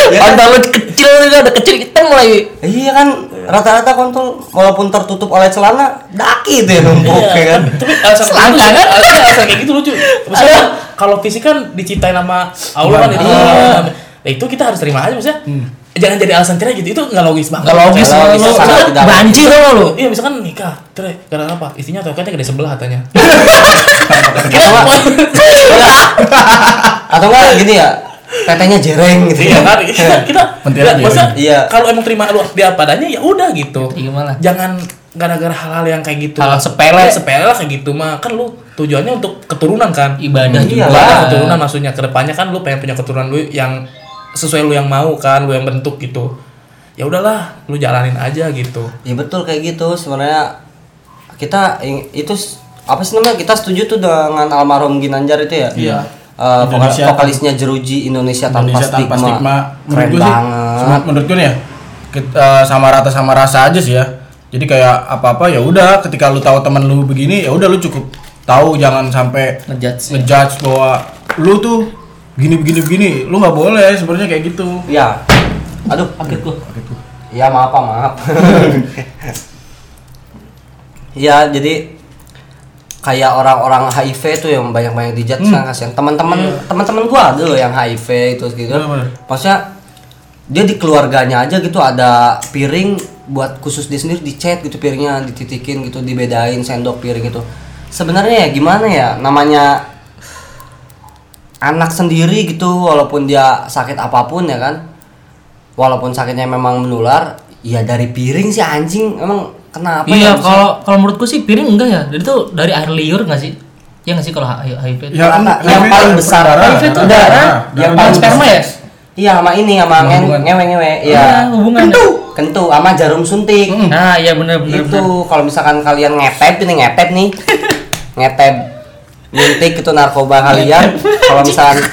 S3: Ya kan?
S4: Pantat lu kecil juga udah kecil hitam mulai.
S3: iya kan rata-rata kontol walaupun tertutup oleh celana daki itu ya numpuk ya kan
S6: Iya. tapi alasan kayak gitu lucu, alasan, alasan kayak gitu lucu maksudnya kalau fisik kan diciptain sama Allah kan itu nah, itu kita harus terima aja maksudnya jangan jadi alasan cerai gitu itu nggak logis banget
S4: Enggak logis
S3: Nggak
S4: lu.
S3: logis,
S4: lu.
S3: sangat tidak logis.
S4: Banci tau nggak lu.
S6: iya misalkan nikah cerai karena apa istrinya atau katanya gede sebelah katanya
S3: atau enggak gini ya tetenya jereng gitu
S6: iya kan kita kita
S1: Pentil
S6: ya,
S1: aja.
S6: maksudnya
S3: Iya.
S6: kalau emang terima lu dia apa adanya ya udah gitu
S4: Iya, gimana? Iya.
S6: jangan gara-gara hal-hal yang kayak gitu
S4: Hal-hal sepele.
S6: Ya, sepele lah kayak gitu mah kan lu tujuannya untuk keturunan kan
S4: Ibadah
S3: Iya
S4: juga.
S6: Ibadah keturunan maksudnya kedepannya kan lu pengen punya keturunan lu yang sesuai lu yang mau kan lu yang bentuk gitu ya udahlah lu jalanin aja gitu
S3: ya betul kayak gitu sebenarnya kita ing- itu s- apa sih namanya kita setuju tuh dengan almarhum Ginanjar itu ya iya
S1: Indonesia-
S3: vokalisnya jeruji Indonesia tanpa
S1: Indonesia
S3: stigma,
S1: tanpa stigma. Menurut
S3: keren
S1: gue sih,
S3: banget
S1: semua- menurut gue nih ya, kit- eh, sama rata sama rasa aja sih ya. Jadi kayak apa-apa ya udah ketika lu tahu teman lu begini ya udah lu cukup tahu jangan sampai
S4: Ngejudge ya.
S1: ngejudge bahwa lu tuh gini begini begini lu nggak boleh sebenarnya kayak gitu
S3: ya aduh sakit gua ya maaf Pak, maaf ya jadi kayak orang-orang HIV tuh yang banyak-banyak dijat
S4: Hmm.
S3: sangat kasihan teman-teman
S4: Iya.
S3: teman-teman gua ada loh yang HIV itu gitu maksudnya dia di keluarganya aja gitu ada piring buat khusus dia sendiri dicet gitu piringnya dititikin gitu dibedain sendok piring gitu sebenarnya ya gimana ya namanya anak sendiri gitu walaupun dia sakit apapun ya kan walaupun sakitnya memang menular ya dari piring sih anjing emang kenapa
S4: Iya,
S3: ya bisa-
S4: kalau kalau menurutku sih piring enggak ya. Jadi tuh dari air liur enggak sih? Iya enggak sih kalau H- HIV? itu?
S1: Ya,
S3: Rata-
S1: ini-
S3: yang
S1: ini
S3: paling besar
S1: berdarah.
S4: HIV itu
S1: Berdarah.
S4: darah,
S1: Darah
S4: yang paling
S1: besar.
S4: sperma ya?
S3: iya sama ini sama nge-
S1: hubungan.
S3: ngewe-ngewe
S4: Ah,
S3: iya
S4: hubungannya.
S3: kentu sama jarum suntik
S4: Nah, iya benar benar.
S3: itu kalau misalkan kalian ngetep ini ngetep nih ngetep nyuntik itu narkoba kalian kalau misalkan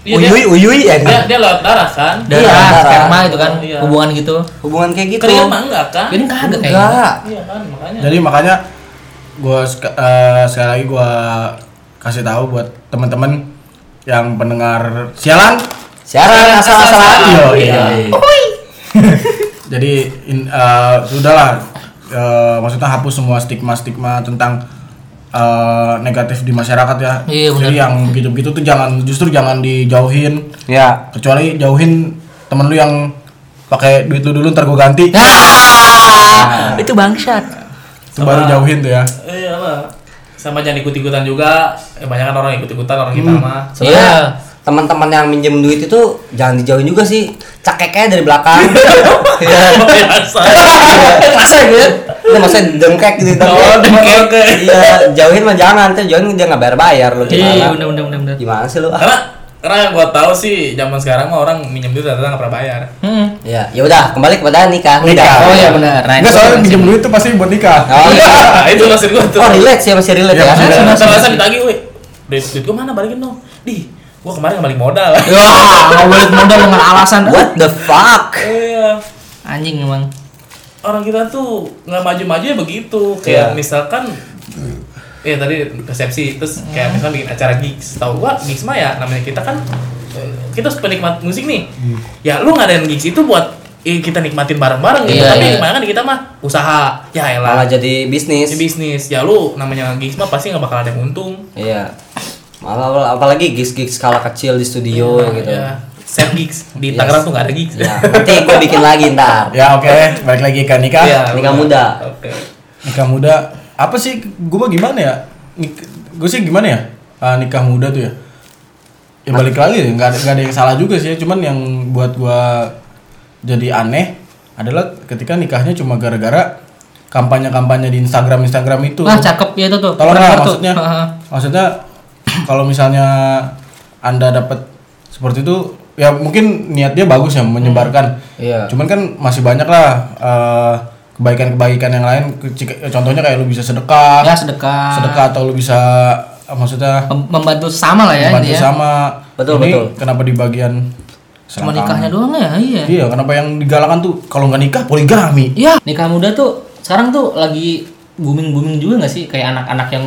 S6: Iya,
S3: uyuy uyuy ya kan?
S6: dia lewat darah kan
S4: Darah,
S3: Iya, darah.
S4: sperma itu kan
S6: Iya.
S4: hubungan gitu.
S3: hubungan kayak gitu
S6: kering mah enggak kan
S4: Piring kagak kayaknya.
S3: enggak
S6: iya kan makanya
S1: Jadi makanya gua sek- eh, sekali lagi gua kasih tahu buat teman-teman yang pendengar sialan
S3: siaran asal-asalan
S1: Iya,
S3: iya
S1: jadi in, eh, sudahlah eh, maksudnya hapus semua stigma-stigma tentang eh, negatif di masyarakat ya.
S4: Iya,
S1: jadi
S4: benar.
S1: yang gitu-gitu tuh jangan justru jangan dijauhin
S3: ya
S1: kecuali jauhin temen lu yang pakai duit lu dulu ntar gua ganti
S4: Ya. Ah, itu bangsat.
S1: itu baru jauhin tuh ya.
S6: iya lah sama jangan ikut-ikutan juga ya, banyak kan orang ikut-ikutan orang kita mah
S4: Iya.
S3: Sebenarnya teman-teman yang minjem duit itu jangan dijauhin juga sih. Cakeknya dari belakang. Iya.
S6: Ya,
S4: Masa gitu?
S3: Itu maksudnya dengkek gitu.
S6: Oh, dengkek.
S3: Iya, jauhin mah jangan, tuh jauhin dia nggak bayar-bayar lu
S4: Iya,
S3: gimana?
S4: benar benar benar benar.
S3: Gimana sih lu? Ah.
S6: karena karena yang gua tahu sih zaman sekarang mah orang minjem duit rata-rata nggak pernah bayar
S4: Hmm.
S3: Ya, ya udah kembali kepada nikah. Nikah.
S4: Oh iya benar. Nah,
S1: Enggak
S4: itu
S1: soalnya
S4: kan
S1: pinjam
S4: sih. Ah,
S1: duit tuh pasti buat nikah.
S3: Oh, iya.
S6: itu maksud gua tuh
S3: Oh, relate sih masih relate
S1: Iya,
S3: ya.
S1: masih relate.
S6: Terus terasa ditagih, weh. Duit, duit gua mana balikin dong? Di, gua kemarin nggak balik modal.
S4: Ya, nggak boleh modal dengan alasan.
S3: What the fuck?
S6: Iya.
S4: Anjing emang.
S6: Orang kita tuh nggak maju-maju ya begitu.
S3: Iya.
S6: Kayak misalkan ya tadi resepsi terus kayak misalkan bikin acara gigs. Tahu gua gigs mah ya namanya kita kan eh, kita harus penikmat musik nih. Ya lu ngadain gigs itu buat eh, kita nikmatin bareng-bareng gitu.
S4: Iya,
S6: Tapi
S4: iya.
S6: kebanyakan di kita mah usaha. Ya
S3: Malah
S6: elah.
S3: jadi bisnis.
S6: Ini bisnis. Ya lu namanya gigs mah pasti nggak bakal ada yang untung.
S3: Iya. Malah apalagi gigs-gigs skala kecil di studio
S6: Nah,
S3: gitu.
S6: ya. Set gigs di
S3: Yes.
S6: Tangerang tuh nggak ada gigs.
S3: Ya, nanti gue bikin lagi ntar.
S1: Ya oke, balik lagi ke nikah.
S6: Iya,
S3: Nikah muda.
S6: Oke.
S4: Iya
S1: nikah muda apa sih gue mah gimana ya gue sih gimana ya Ah, nikah muda tuh ya ya balik lagi ya, nggak ada nggak ada yang salah juga sih ya. cuman yang buat gue jadi aneh adalah ketika nikahnya cuma gara-gara kampanye-kampanye di Instagram Instagram itu
S4: Wah, cakep ya itu tuh.
S1: tolong
S4: Keren
S1: lah
S4: banget tuh.
S1: maksudnya
S4: Heeh.
S1: Nah, maksudnya kalau misalnya anda dapat seperti itu ya mungkin niat dia bagus ya menyebarkan
S4: Hmm.
S3: Iya.
S1: cuman kan masih banyak lah eh, kebaikan-kebaikan yang lain Jika- contohnya kayak lu bisa sedekah
S4: Ya sedekah.
S1: sedekah atau lu bisa eh, maksudnya
S4: Mem- Membantu sama lah ya
S1: bantu
S4: intinya.
S1: sama
S4: Betul,
S1: ini
S4: betul.
S1: kenapa di bagian
S4: Cuma
S1: selangkangan?
S4: nikahnya doang ya, iya.
S1: Iya, kenapa yang digalakan tuh kalau nggak nikah poligami?
S4: Iya, nikah muda tuh sekarang tuh lagi booming booming juga nggak sih kayak anak-anak yang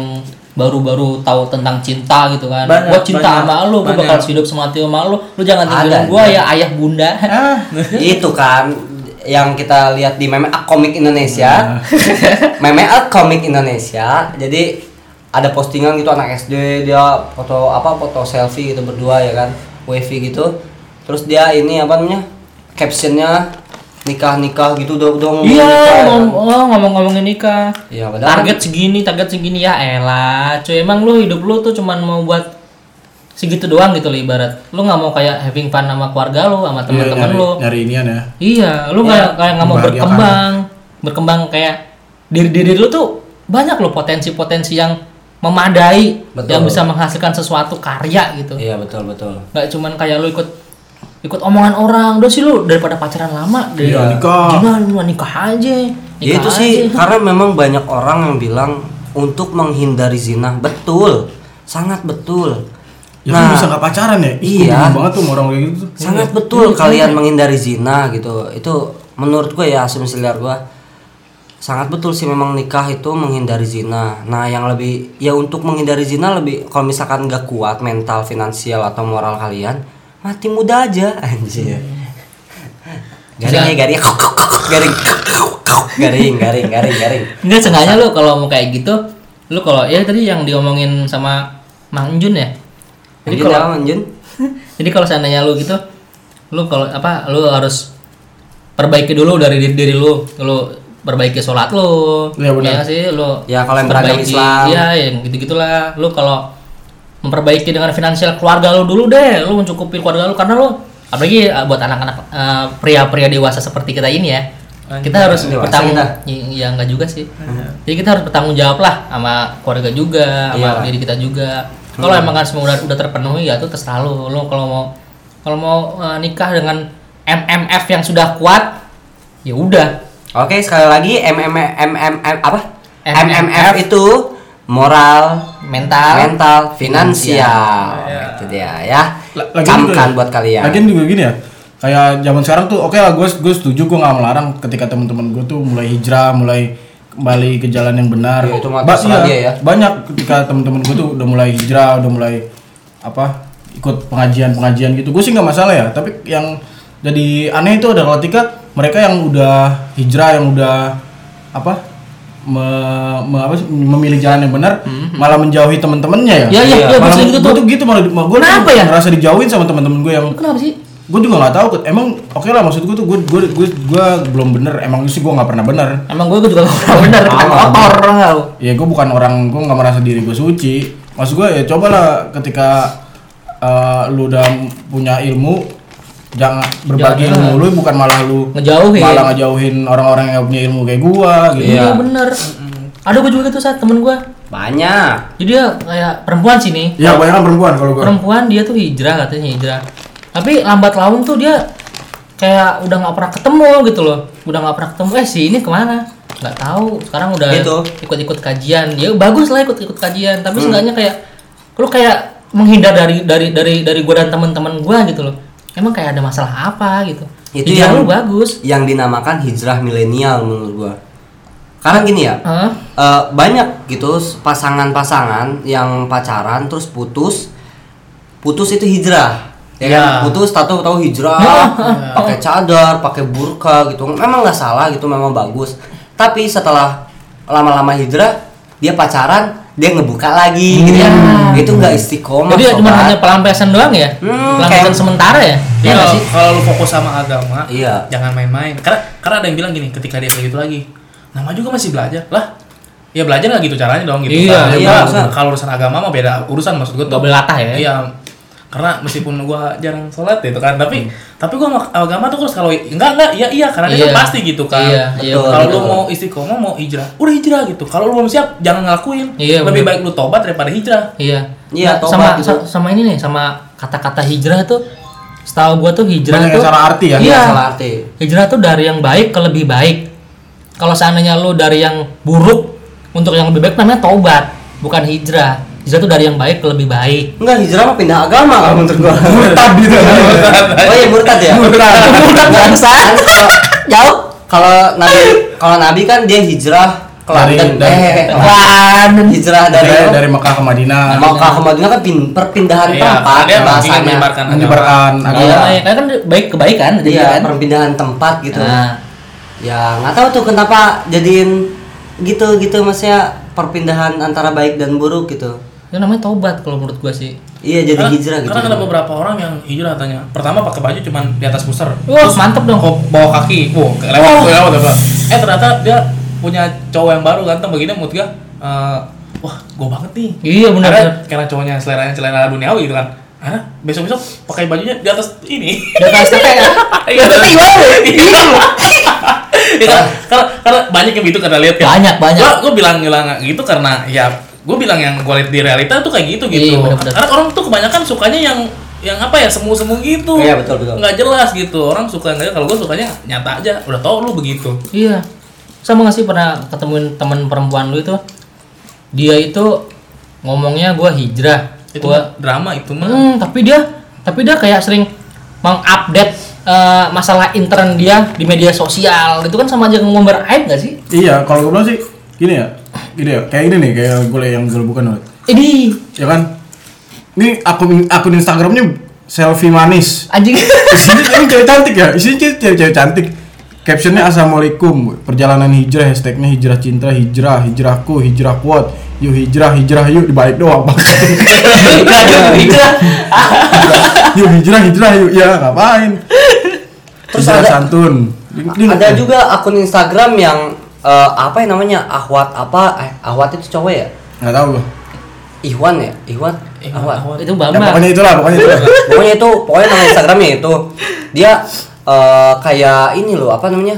S4: baru-baru tahu tentang cinta gitu kan.
S7: Banyak,
S4: gua cinta
S7: banyak,
S4: sama lu, gua
S7: banyak.
S4: bakal hidup semati sama lu. Lu jangan tinggalin
S3: Ada,
S4: gua ya ayah bunda.
S3: itu kan yang kita lihat di meme ah, komik Indonesia meme ah, komik Indonesia jadi ada postingan gitu anak SD dia foto apa foto selfie gitu berdua ya kan wavy gitu terus dia ini apa namanya captionnya nikah nikah gitu udah udah ngomong
S4: Iya,
S3: nikah, ya
S4: ngom-
S3: kan?
S4: oh, ngomong-ngomongin nikah.
S3: Iya, padahal
S4: Target segini, target segini ya elah. Cuy, emang lu hidup lu tuh cuman mau buat segitu doang gitu loh ibarat. Lu nggak mau kayak having fun sama keluarga lu,
S1: Iya,
S4: sama
S1: nyari,
S4: teman-teman Iya, lu.
S1: nyari inian ya.
S4: Iya, lu kayak kayak nggak mau
S3: kan?
S1: membahagiakan.
S4: berkembang, berkembang kayak diri diri lu tuh banyak loh potensi-potensi yang memadai
S3: Betul.
S4: yang bisa menghasilkan sesuatu karya gitu.
S3: iya betul betul
S4: Nggak cuman kayak lu ikut ikut omongan orang, udah sih lu daripada pacaran lama, dari
S1: Iya, nikah.
S4: gimana lu nikah aja,
S3: Ya
S4: nikah
S3: itu sih
S4: aja.
S3: karena memang banyak orang yang bilang untuk menghindari zina betul sangat betul Nah,
S1: Ya
S4: Nah.
S1: kan bisa nggak pacaran ya? Ih, gua
S3: Iya.
S1: bingung banget tuh sama orang kayak gitu tuh.
S3: sangat betul kalian menghindari zina gitu itu menurut gue ya asumsi liar gue sangat betul sih memang nikah itu menghindari zina nah yang lebih ya untuk menghindari zina lebih kalau misalkan nggak kuat mental finansial atau moral kalian mati muda aja anjir garing ya garing garing garing garing garing garing
S4: Enggak sengaja lu kalau mau kayak gitu, lu kalau ya tadi yang diomongin sama Mang Jun ya. Jadi
S3: Anjun
S4: kalau
S3: apa, Anjun?
S4: Jadi kalau seandainya lu gitu, lu kalau apa, lu harus perbaiki dulu dari diri, diri lu. Lu perbaiki sholat lu.
S1: Iya, benar.
S4: nggak sih, lu.
S3: Ya, kalau yang beragama
S4: perbaiki-
S3: Islam.
S4: Iya, yang gitu-gitulah. Lu kalau memperbaiki dengan finansial keluarga lu dulu deh, lu mencukupi keluarga lu karena lu apalagi eh, buat anak-anak eh, pria-pria dewasa seperti kita ini ya. Kita harus
S3: dewasa
S4: bertanggung
S3: kita.
S4: Y- ya enggak juga sih. Jadi kita harus bertanggung jawab lah sama keluarga juga, sama
S3: Iyalah.
S4: diri kita juga. Kalau emang kan semua udah, udah terpenuhi ya itu terserah lu. Lu kalau mau kalau mau eh, nikah dengan MMF yang sudah kuat, ya udah.
S3: Oke, sekali lagi MM MM apa?
S4: MMF.
S3: MMF itu moral,
S4: Mental.
S3: mental, finansial. Itu dia ya.
S1: La- lagian juga
S3: Camkan
S1: ya.
S3: kan buat kalian.
S1: Lagian juga gini ya. Kayak zaman sekarang tuh oke lah gue gue setuju gue nggak melarang ketika teman-teman gue tuh mulai hijrah, mulai kembali ke jalan yang benar.
S3: Iya, itu mah
S1: Ba-
S3: terserah
S1: iya,
S3: dia ya.
S1: Banyak ketika teman-teman gue tuh udah mulai hijrah, udah mulai apa ikut pengajian-pengajian gitu. Gue sih nggak masalah ya, tapi yang jadi aneh itu adalah ketika mereka yang udah hijrah, yang udah apa me- me- apa sih, memilih jalan yang benar
S3: Hmm,
S1: malah menjauhi teman-temannya ya.
S4: Ya ya, ya,
S1: Malah,
S4: maksudnya gitu
S1: gua
S4: tuh.
S1: tuh gitu malah, gue
S4: Kenapa ya?
S1: ngerasa dijauhin sama teman-teman gue yang
S4: Kenapa sih?
S1: gue juga nggak tahu Kut. emang oke lah maksud gue tuh gue gue gue gue belum bener emang sih gue nggak pernah bener
S4: Emang gue juga gak pernah bener. Kotor lu.
S1: ya gue bukan orang gue nggak merasa diri gue suci maksud gue ya cobalah ketika eh, lu udah punya ilmu jangan berbagi
S4: Jangan.
S1: ilmu lu bukan malah lu
S4: Ngejauhin.
S1: malah ngejauhin orang-orang yang nggak punya ilmu kayak gue gitu
S4: Iya bener. Ada gue juga gitu saat temen gue.
S3: Banyak.
S4: Jadi dia kayak perempuan sih nih.
S1: ya banyak perempuan kalau gue
S4: perempuan dia tuh hijrah katanya hijrah tapi lambat laun tuh dia kayak udah nggak pernah ketemu gitu loh udah nggak pernah ketemu eh si ini kemana nggak tahu sekarang udah
S3: Gitu. Hmm.
S4: ikut-ikut kajian ya bagus lah ikut-ikut kajian tapi seenggaknya kayak lu kayak menghindar dari dari dari dari gua dan teman-teman gua gitu loh emang kayak ada masalah apa gitu
S3: Itu
S4: hijrah
S3: yang-
S4: lu bagus
S3: Yang dinamakan hijrah milenial menurut gua. Karena gini ya,
S4: Hah?
S3: Eh, banyak gitu s- pasangan-pasangan yang pacaran terus putus putus itu hijrah ya kan? putus tahu tahu hijrah
S4: Ya.
S3: pakai cadar pakai burka gitu memang nggak salah gitu memang bagus tapi setelah lama-lama hijrah dia pacaran dia ngebuka lagi gitu ya itu nggak istiqomah
S4: Hmm. jadi ya cuma
S3: sobat.
S4: hanya pelampiasan doang ya
S3: Hmm,
S4: pelampiasan
S3: kayak-
S4: sementara ya Iya
S6: Iya,
S4: nggak sih
S6: kalau lu fokus sama agama,
S3: Iya.
S6: jangan main-main. Karena karena ada yang bilang gini, ketika dia kayak gitu lagi, nama juga masih belajar lah. Ya belajar nggak gitu caranya dong gitu.
S4: Iya,
S6: kan.
S3: iya,
S6: Nah,
S3: benar.
S6: Kalau urusan agama mah beda urusan maksud gue
S4: nggak belatah ya
S6: Iya. Karena meskipun gua jarang sholat gitu kan, tapi tapi gua sama agama tuh terus kalau enggak enggak iya iya karena
S4: Hmm.
S6: itu
S4: Iya.
S6: pasti gitu kan.
S4: Iya, iya,
S6: kalau
S4: betul.
S6: lu mau istiqomah mau hijrah, udah hijrah gitu. Kalau lu belum siap jangan ngelakuin.
S4: Iya,
S6: Lebih
S4: benar.
S6: baik lu tobat daripada hijrah.
S4: Iya.
S3: Iya,
S4: Nah,
S3: tobat
S4: sama,
S3: gitu.
S4: sa- sama ini nih, sama kata-kata hijrah tuh setahu gua tuh hijrah
S1: Banyak
S4: tuh
S1: yang salah arti ya?
S4: Iya.
S3: Nggak salah arti
S4: Hijrah tuh dari yang baik ke lebih baik. Kalau seandainya lu dari yang buruk untuk yang lebih baik namanya tobat, bukan hijrah. Hijrah tuh dari yang baik ke lebih baik.
S3: Enggak hijrah mah pindah agama kalau menurut gua.
S1: Murtad gitu.
S3: Oh iya murtad ya.
S1: Murtad.
S3: Bangsat. Jauh. Kalau Nabi kalau Nabi kan dia hijrah ke
S1: Dari-
S3: London.
S1: dari-
S3: Eh, London. Hijrah dari
S1: Dari dari Mekah ke Madinah.
S3: mau ke Madinah kan pin, perpindahan tempat
S6: Iya, dia ingin
S3: bahasanya.
S6: menyebarkan agama.
S1: Menyebarkan agama.
S3: Iya.
S4: Iya, kan baik kebaikan jadi
S3: Iya,
S4: kan.
S3: perpindahan tempat gitu.
S4: Nah.
S3: Ya nggak tahu tuh kenapa jadiin gitu gitu maksudnya perpindahan antara baik dan buruk gitu.
S4: Itu namanya tobat kalau menurut gua sih.
S3: Iya jadi hijrah gitu.
S6: Karena ada beberapa orang yang hijrah tanya. Pertama pakai baju cuman di atas pusar.
S4: Wah, mantep dong.
S6: Kok bawa kaki. Wah, ke- lewat, tuh, lewat, lewat. Eh ternyata dia punya cowok yang baru ganteng begini mood gua. eh, wah, gue banget nih.
S4: Iya benar.
S6: Karena,
S4: benar.
S6: karena cowoknya seleranya selera duniawi gitu kan. Karena besok-besok pakai bajunya di atas ini.
S4: Udah
S3: iya,
S4: tahu siapa ya?
S6: Iya, tapi Iya, karena karena banyak yang gitu karena lihat ya.
S4: Banyak, banyak.
S6: Gua, gua bilang bilang gitu karena ya gue bilang yang gue lihat di realita tuh kayak gitu gitu.
S4: Iya, bener-bener.
S6: Karena orang tuh kebanyakan sukanya yang yang apa ya semu-semu gitu.
S3: Iya, betul, betul.
S6: Nggak jelas gitu. Orang suka nggak kalau gue sukanya nyata aja. Udah tau lu begitu.
S4: Iya. Sama gak sih pernah ketemuin temen perempuan lu itu? Dia itu ngomongnya gua hijrah.
S6: Itu
S4: gua
S6: mah drama itu mah.
S4: Hmm, tapi dia tapi dia kayak sering mengupdate eh, masalah intern dia di media sosial. Itu kan sama aja ngumbar aib gak sih?
S1: Iya, kalau gue bilang sih gini ya. Gini ya, kayak ini nih, kayak gue yang gue bukan.
S4: Ini
S1: Ya kan? Ini akun akun Instagramnya selfie manis.
S4: anjing.
S1: isinya emang cewek cantik ya isinya cewek- cewek cewek cantik captionnya assalamualaikum perjalanan hijrah hashtagnya hijrah cinta hijrah hijrahku hijrah kuat yuk hijrah hijrah yuk dibalik doang pak yuk hijrah hijrah yuk ya ngapain
S3: Terus
S1: terus hijrah
S3: ada-
S1: santun Ini-
S3: ada juga akun Instagram yang eh, apa yang namanya Ahwat apa eh Ahwat itu cowok ya
S1: nggak tahu gua
S3: Ihwan ya Ihwan Ahwat
S4: itu
S1: ya
S4: Bambang.
S1: pokoknya itulah pokoknya itulah
S3: pokoknya itu pokoknya nama Instagramnya itu dia eh, kayak ini loh apa namanya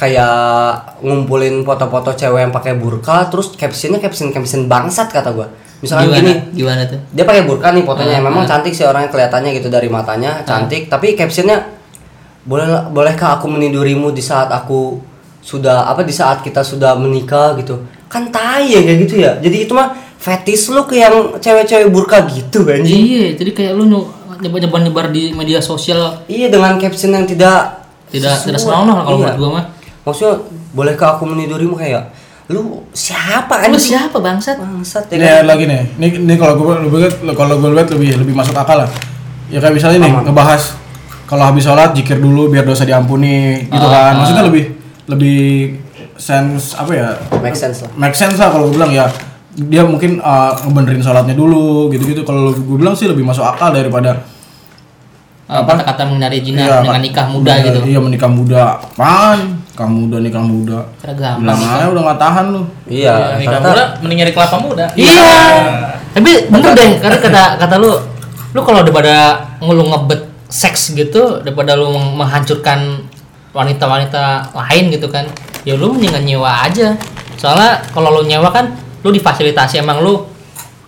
S3: kayak ngumpulin foto-foto cewek yang pakai burka terus captionnya caption caption bangsat kata gua misalkan
S4: gimana? Ah,
S3: gini
S4: Gimana tuh?
S3: dia pakai burka nih fotonya memang cantik sih orangnya kelihatannya gitu dari
S4: Ah.
S3: matanya cantik tapi captionnya boleh bolehkah aku menidurimu di saat aku sudah apa di saat kita sudah menikah gitu kan tai ya kayak gitu ya jadi itu mah fetish lu ke yang cewek-cewek burka gitu anjing
S4: Iya, jadi kayak lu nyebar nyebar di media sosial
S3: iya dengan caption yang tidak
S4: tidak
S3: sesuai.
S4: tidak senonoh lah kalau
S3: Iya.
S4: menurut gua mah.
S3: maksudnya bolehkah aku menidurimu kayak lu siapa
S4: Lu
S3: anjing
S4: siapa bangsat?
S3: bangsat ya kan?
S1: ini
S4: Iya,
S1: ada Iya, lagi nih ini ini kalau gue lebih kalau gue lihat lebih lebih masuk akal lah ya kayak misalnya nih ngebahas kalau habis sholat jikir dulu biar dosa diampuni gitu
S4: Ah,
S1: kan maksudnya lebih lebih sense apa ya
S3: make sense lah
S1: make sense lah kalau gue bilang ya dia mungkin uh, ngebenerin sholatnya dulu gitu-gitu kalau gue bilang sih lebih masuk akal daripada
S4: Eh, Apa kata mengenai zina
S1: Iya,
S4: dengan
S1: Kak.
S4: nikah muda
S1: Iya,
S4: gitu.
S1: iya menikah muda apaan nikah muda nikah muda
S4: Karena gampang.
S1: bilang aja udah nggak tahan lu
S3: iya
S6: Ya, Nikah
S3: ternyata-
S6: muda mending nyari kelapa muda.
S4: Iya. Tapi bener deh, karena kata kata lu, lu kalau daripada ngulu ngebet seks gitu, daripada lu meng- menghancurkan wanita-wanita lain gitu kan, ya lu mendingan nyewa aja. Soalnya kalau lu nyewa kan, lu difasilitasi emang lu,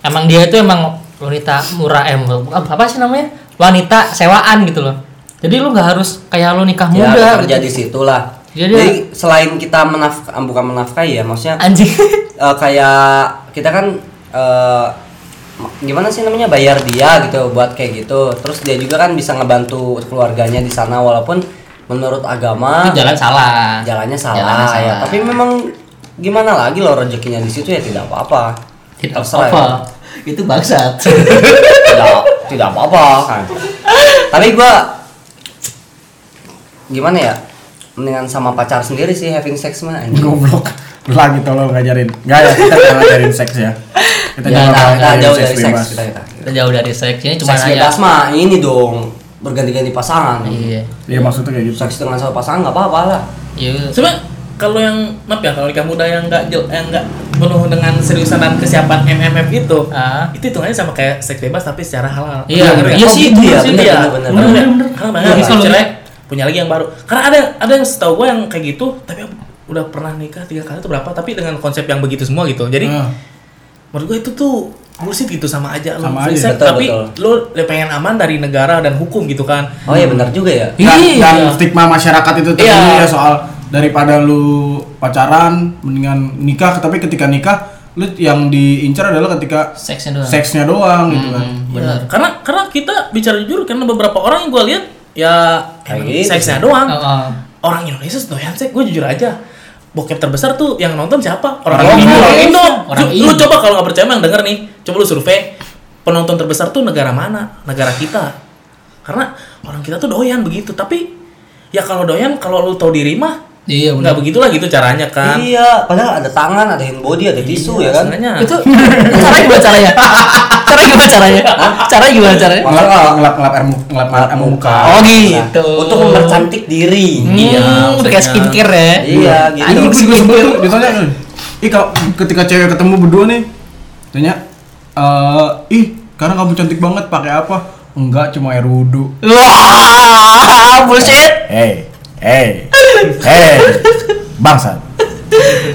S4: emang dia itu emang wanita murah em apa sih namanya wanita sewaan gitu loh. Jadi lu nggak harus kayak lu nikah
S3: ya
S4: muda.
S3: kerja
S4: gitu.
S3: di situ lah
S4: Jadi-
S3: jadi, selain kita menaf ah, bukan menafkahi ya maksudnya
S4: Anjing.
S3: eh, kayak kita kan eh, ma- gimana sih namanya bayar dia gitu buat kayak gitu terus dia juga kan bisa ngebantu keluarganya di sana walaupun menurut agama
S4: Itu jalan salah.
S3: jalannya salah,
S4: Ah, Jalannya salah.
S3: ya tapi memang gimana lagi loh rezekinya di situ ya tidak apa-apa
S4: Tidak
S3: Terserah ya.
S4: apa-apa. Itu bangsat.
S3: tidak tidak apa-apa kan. tapi gua gimana ya mendingan sama pacar sendiri sih having sex mah anjing.
S1: goblok lu lagi tolong ngajarin nggak ya kita nggak ngajarin seks ya kita
S3: Ya,
S1: jangan
S3: kita, kita
S1: ngajarin
S3: jauh dari
S1: bebas.
S3: seks kita, ya. kita.
S4: Kita jauh dari seks ini cuma
S3: Seks
S4: hanya
S3: bebas mah ini dong berganti-ganti pasangan.
S4: iya
S1: Iya maksudnya kayak gitu.
S3: Seks dengan sama pasangan nggak apa-apa lah.
S4: iya
S6: Cuma kalau yang maaf ya kalau nikah muda yang nggak jel- yang nggak penuh dengan seriusan dan kesiapan MMF itu,
S4: Ah.
S6: itu hitungannya sama kayak seks bebas tapi secara halal.
S4: Iya,
S6: Bener nggak?
S4: iya
S6: Oh,
S4: sih,
S6: gitu
S4: iya,
S6: sih,
S4: bener,
S6: iya.
S3: bener,
S6: Bener,
S4: bener.
S6: bener. Karena banyak
S4: Logis
S6: yang
S4: kalau
S6: cerai,
S4: gitu.
S6: punya lagi yang baru. Karena ada ada yang setahu gue yang kayak gitu, tapi udah pernah nikah tiga kali itu berapa? Tapi dengan konsep yang begitu semua gitu. Jadi
S4: Hmm.
S1: Ah.
S6: menurut gue itu tuh bullshit gitu sama aja lo
S1: Sama
S6: free
S1: aja.
S6: sex,
S3: Betul,
S6: tapi
S3: betul.
S6: lo pengen aman dari negara dan hukum gitu kan
S3: Oh iya benar juga ya.
S1: dan, dan
S4: Iya.
S1: stigma masyarakat itu tadi
S6: Iya.
S1: ya soal daripada lu pacaran mendingan nikah tapi ketika nikah
S2: lu yang diincar adalah ketika
S4: seksnya
S3: Iya.
S4: doang
S2: seksnya doang gitu kan
S3: Hmm.
S4: benar
S6: karena karena kita bicara jujur karena beberapa orang yang gue lihat ya emang
S3: gitu.
S6: seksnya doang
S4: Oh, oh.
S6: orang Indonesia doyan seks gue jujur aja bokep terbesar tuh yang nonton siapa orang,
S2: Orang
S6: Indo
S2: Indo.
S6: orang Indo
S4: Orang
S6: Ju- lu
S4: Indo.
S6: coba kalau nggak percaya emang denger nih coba lu survei penonton terbesar tuh negara mana negara kita karena orang kita tuh doyan begitu tapi ya kalau doyan kalau lu tahu diri mah
S4: iya
S6: nggak
S4: benar
S6: begitulah gitu caranya kan
S3: Iya, padahal ada tangan, ada hand body, ada tisu ya kan.
S6: Iya, Sebenarnya.
S4: itu caranya gimana caranya caranya gimana caranya caranya gimana caranya
S2: ngelap ngelap ngelap air mu- ngelap air mu- muka
S4: oh gitu
S3: Untuk mempercantik diri.
S4: iya udah kayak skincare ya
S3: Iya,
S2: Ini
S3: gitu.
S2: gue juga sebel tuh, ditanya kan. Ih kalau ketika cewek ketemu berdua nih, tanya, eh ih karena kamu cantik banget pakai apa? Enggak cuma air wudhu.
S4: wah bullshit
S1: Hey, hey, hey, bangsat.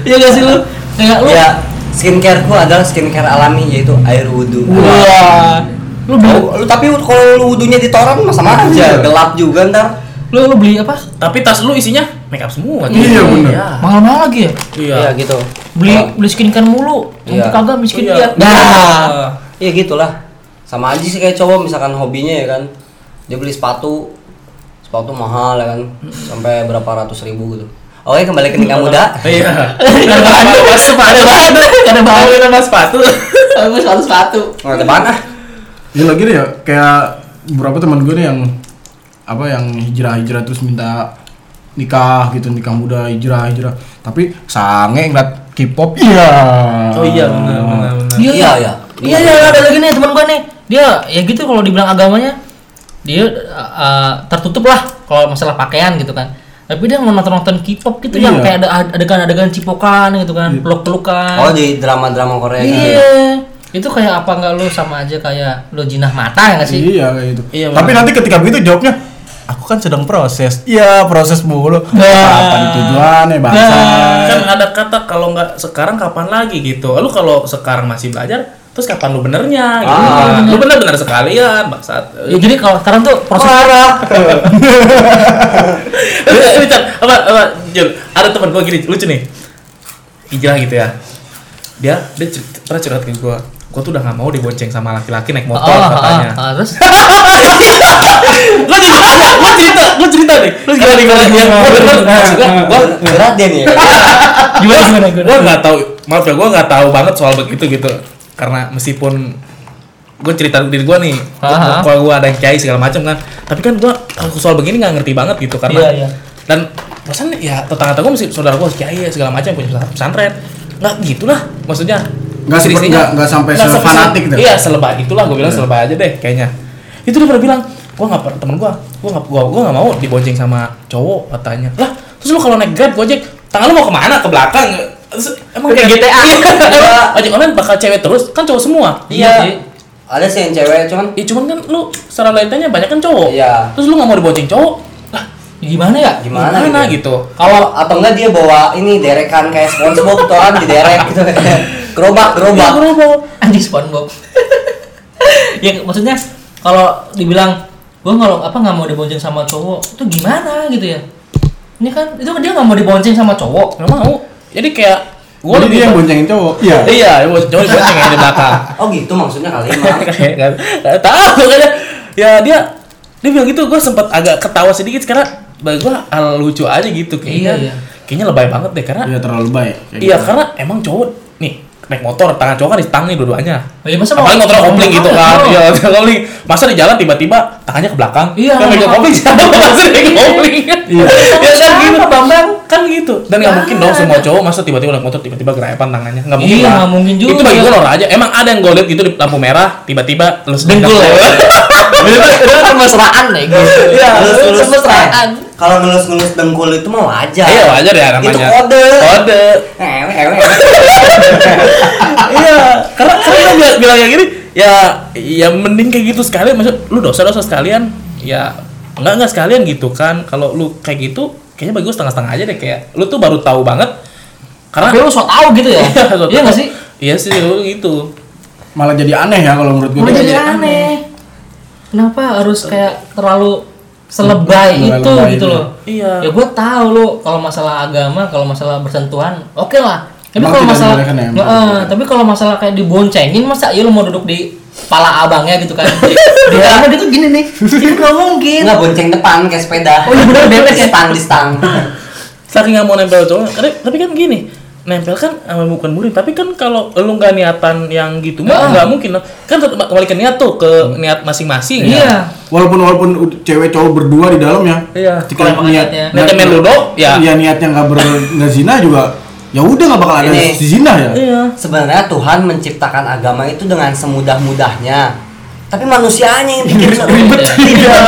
S4: Iya gak sih lu? Kayak lu
S3: Ya, skincareku adalah skincare alami yaitu air wudhu.
S4: Wah Lu beli
S3: Bau- lu- tapi kalau lu wudhunya di toran mah sama aja, gelap juga ntar.
S4: Lu, lu beli apa?
S6: tapi tas lu isinya make up semua tuh.
S2: Iya, bener.
S6: Iya.
S4: Mahal-mahal lagi ya?
S6: iya
S3: Iya gitu.
S4: Beli beli skincare mulu Cantik
S3: Iya.
S4: kagak miskin
S6: Iya.
S4: dia
S3: Nah, iya gitulah. Sama aja sih kayak cowok misalkan hobinya ya kan. Dia beli sepatu, sepatu mahal ya kan, sampai berapa ratus ribu gitu. Oke, kembali ke nikah muda.
S6: iya
S4: Ada Oh. banget Ada banget
S6: kita bahas sepatu
S4: Aku sepatu sepatu
S3: Nggak ada banget ah.
S2: Ya lagi deh ya, kayak beberapa teman gue nih yang apa yang hijrah-hijrah terus minta nikah gitu nikah muda hijrah-hijrah tapi sange ngeliat K-pop iya
S6: oh iya benar benar benar
S3: Iya,
S4: Iya iya
S3: iya.
S4: Iya iya ada lagi nih teman gua nih Dia ya gitu kalau dibilang agamanya Dia uh, uh, tertutup lah Kalau masalah pakaian gitu kan tapi dia mau nonton-nonton K-pop gitu yang
S2: Iya.
S4: kayak ada adegan-adegan cipokan gitu kan, peluk-pelukan.
S3: Oh di drama-drama Korea gitu.
S4: Iya. Itu kayak apa nggak lu sama aja kayak lu jinah mata ya nggak sih?
S2: iya kayak gitu
S6: Iya,
S2: tapi
S6: benar.
S2: nanti ketika begitu jawabnya aku kan sedang proses iya proses mulu
S4: Nah.
S2: apa nih tujuannya ya, bangsa
S6: kan ada kata kalau nggak sekarang kapan lagi gitu lu kalau sekarang masih belajar terus kapan lu benernya gitu
S3: Ah.
S6: lu bener bener sekalian bangsat
S4: Ya, jadi kalau sekarang tuh proses
S6: Terus, lucu, apa apa Jul, ada teman gua gini lucu nih hijrah gitu ya dia dia cer- pernah curhat ke gua gua tuh udah nggak mau dibonceng sama laki-laki naik motor
S4: ah,
S6: katanya
S4: ah, ah, terus
S6: lu cerita lu cerita lu cerita nih lu gimana gimana gimana maksud gua gua
S3: Berat dia nih. ya kan?
S4: gimana gimana gimana?
S6: gue nggak tahu maaf ya gue nggak tahu banget soal begitu gitu karena meskipun gue cerita diri gue nih
S4: Aha.
S6: kalau gue ada yang kiai segala macam kan tapi kan gue soal begini nggak ngerti banget gitu karena
S4: Iya, iya.
S6: dan perasaan ya tetangga gue mesti saudara gue kiai segala macam punya pesantren- pesantren nggak gitulah maksudnya
S2: Nggak seperti-
S6: Istri-istrinya
S2: nggak- nggak sampai
S6: nggak
S2: sefanatik gitu. dah.
S6: iya selebay itulah gue bilang selebay aja deh kayaknya itu dia pernah bilang gue nggak pernah temen gue gue nggak gue gue nggak mau dibonceng sama cowok katanya lah terus lu kalau naik grab gojek tangan lu mau kemana ke belakang Terus, emang kayak GTA emang ojek online bakal cewek terus kan cowok semua
S3: Iya.
S4: sih.
S3: Ada sih yang cewek cuman
S6: ya cuman kan lu secara realitanya banyak kan cowok
S3: Iya.
S6: terus lu nggak mau dibonceng cowok lah
S4: Gimana ya?
S3: gimana,
S6: gimana
S3: gitu.
S6: gitu
S3: Kalau atau enggak dia bawa ini derekan kayak SpongeBob tuh kan di derek gitu. Gerobak, gerobak.
S6: Ya, gerobak.
S4: Anjing SpongeBob. ya maksudnya kalau dibilang gua kalau apa nggak mau dibonceng sama cowok itu gimana gitu ya? Ini kan itu dia nggak mau dibonceng sama cowok.
S6: nggak mau jadi kayak gue
S2: jadi
S6: lebih
S2: dia yang boncengin cowok iya
S6: iya dia mau cowok dibonceng ya di belakang
S3: Oh gitu maksudnya kali Mak.
S6: kayak nggak nggak tahu kayaknya ya dia dia bilang gitu gue sempat agak ketawa sedikit karena bagi gue hal lucu aja gitu
S4: Iya,
S6: kayaknya
S4: iya.
S6: kayaknya lebay banget deh karena
S2: iya terlalu baik kayak
S6: iya
S2: gitu.
S6: karena emang cowok nih naik motor tangan cowok kan di tang nih dua-duanya
S4: Oh, iya, masa mau-
S6: apalagi motor
S4: mau-
S6: kopling gitu
S4: mau-
S6: kan
S4: mau.
S6: iya motor kopling masa di jalan tiba-tiba tangannya ke belakang
S4: Iya,
S6: kan megang
S4: mau-
S6: kopling siapa masa megang kopling
S2: Iya.
S6: ya kan
S4: Siapa,
S6: gitu
S4: Bambang? Iya.
S6: kan gitu dan nggak
S4: Nggak
S6: mungkin dong
S4: ada.
S6: semua cowok masa tiba-tiba naik motor tiba-tiba gerapan tangannya nggak mungkin
S4: Iya,
S6: lah.
S4: nggak mungkin juga.
S6: itu bagi gue lor aja emang ada yang gue lihat gitu di lampu merah tiba-tiba les
S4: Dengkul ya. Itu kan kemesraan ya gitu.
S6: Iya,
S3: Ngelus-ngelus
S4: Kemesraan.
S3: eh. Kalau ngelus-ngelus dengkul itu mah wajar.
S6: iya wajar ya namanya
S3: Itu kode.
S6: kode
S3: Ewe, ewe.
S6: iya karena karena dia bilang, bilang kayak gini ya ya mending kayak gitu sekalian maksud lu dosa dosa sekalian ya enggak enggak sekalian gitu kan kalau lu kayak gitu kayaknya bagus setengah setengah aja deh kayak lu tuh baru tahu banget karena
S4: Tapi lu so tau gitu ya? Iya nggak sih?
S6: iya sih lu gitu
S2: malah jadi aneh ya kalau menurut gue
S4: Mulai jadi aneh. Kenapa harus kayak terlalu selebay
S2: Lebay-lebay
S4: itu
S2: itu
S4: gitu
S2: ya.
S4: loh?
S6: iya
S4: Ya gue tahu lo kalau masalah agama, kalau masalah bersentuhan, oke lah. Ya Tapi
S2: Emang
S4: kalau
S2: tidak
S4: masalah,
S2: dibolehkan ya, emang?
S4: Heeh, tapi kalau masalah kayak diboncengin masa ya lu mau duduk di pala abangnya gitu kan? Di di
S2: Iya.
S4: dalam gitu gini nih, itu nggak mungkin.
S3: Enggak bonceng depan kayak sepeda.
S4: Oh, iya bener, bebek ya.
S3: Di stang di stang.
S6: saking nggak mau nempel cowok tapi, tapi kan gini nempel kan sama bukan murid tapi kan kalau lu nggak niatan yang gitu
S4: Ah.
S6: mah nggak mungkin lah. kan tetap kembali ke niat tuh ke niat masing-masing ya.
S4: Iya.
S2: Walaupun walaupun ud- cewek cowok berdua di dalam ya.
S6: Iya.
S2: Ketika
S4: Kalau
S2: niat
S4: niatnya-
S6: niatnya main ludo, ya.
S2: Iya niatnya nggak ber nggak zina juga. Ya udah nggak bakal ada
S3: Ini.
S2: si zina ya.
S6: iya
S3: Sebenarnya Tuhan menciptakan agama itu dengan semudah-mudahnya. Tapi manusianya yang bikin
S6: iya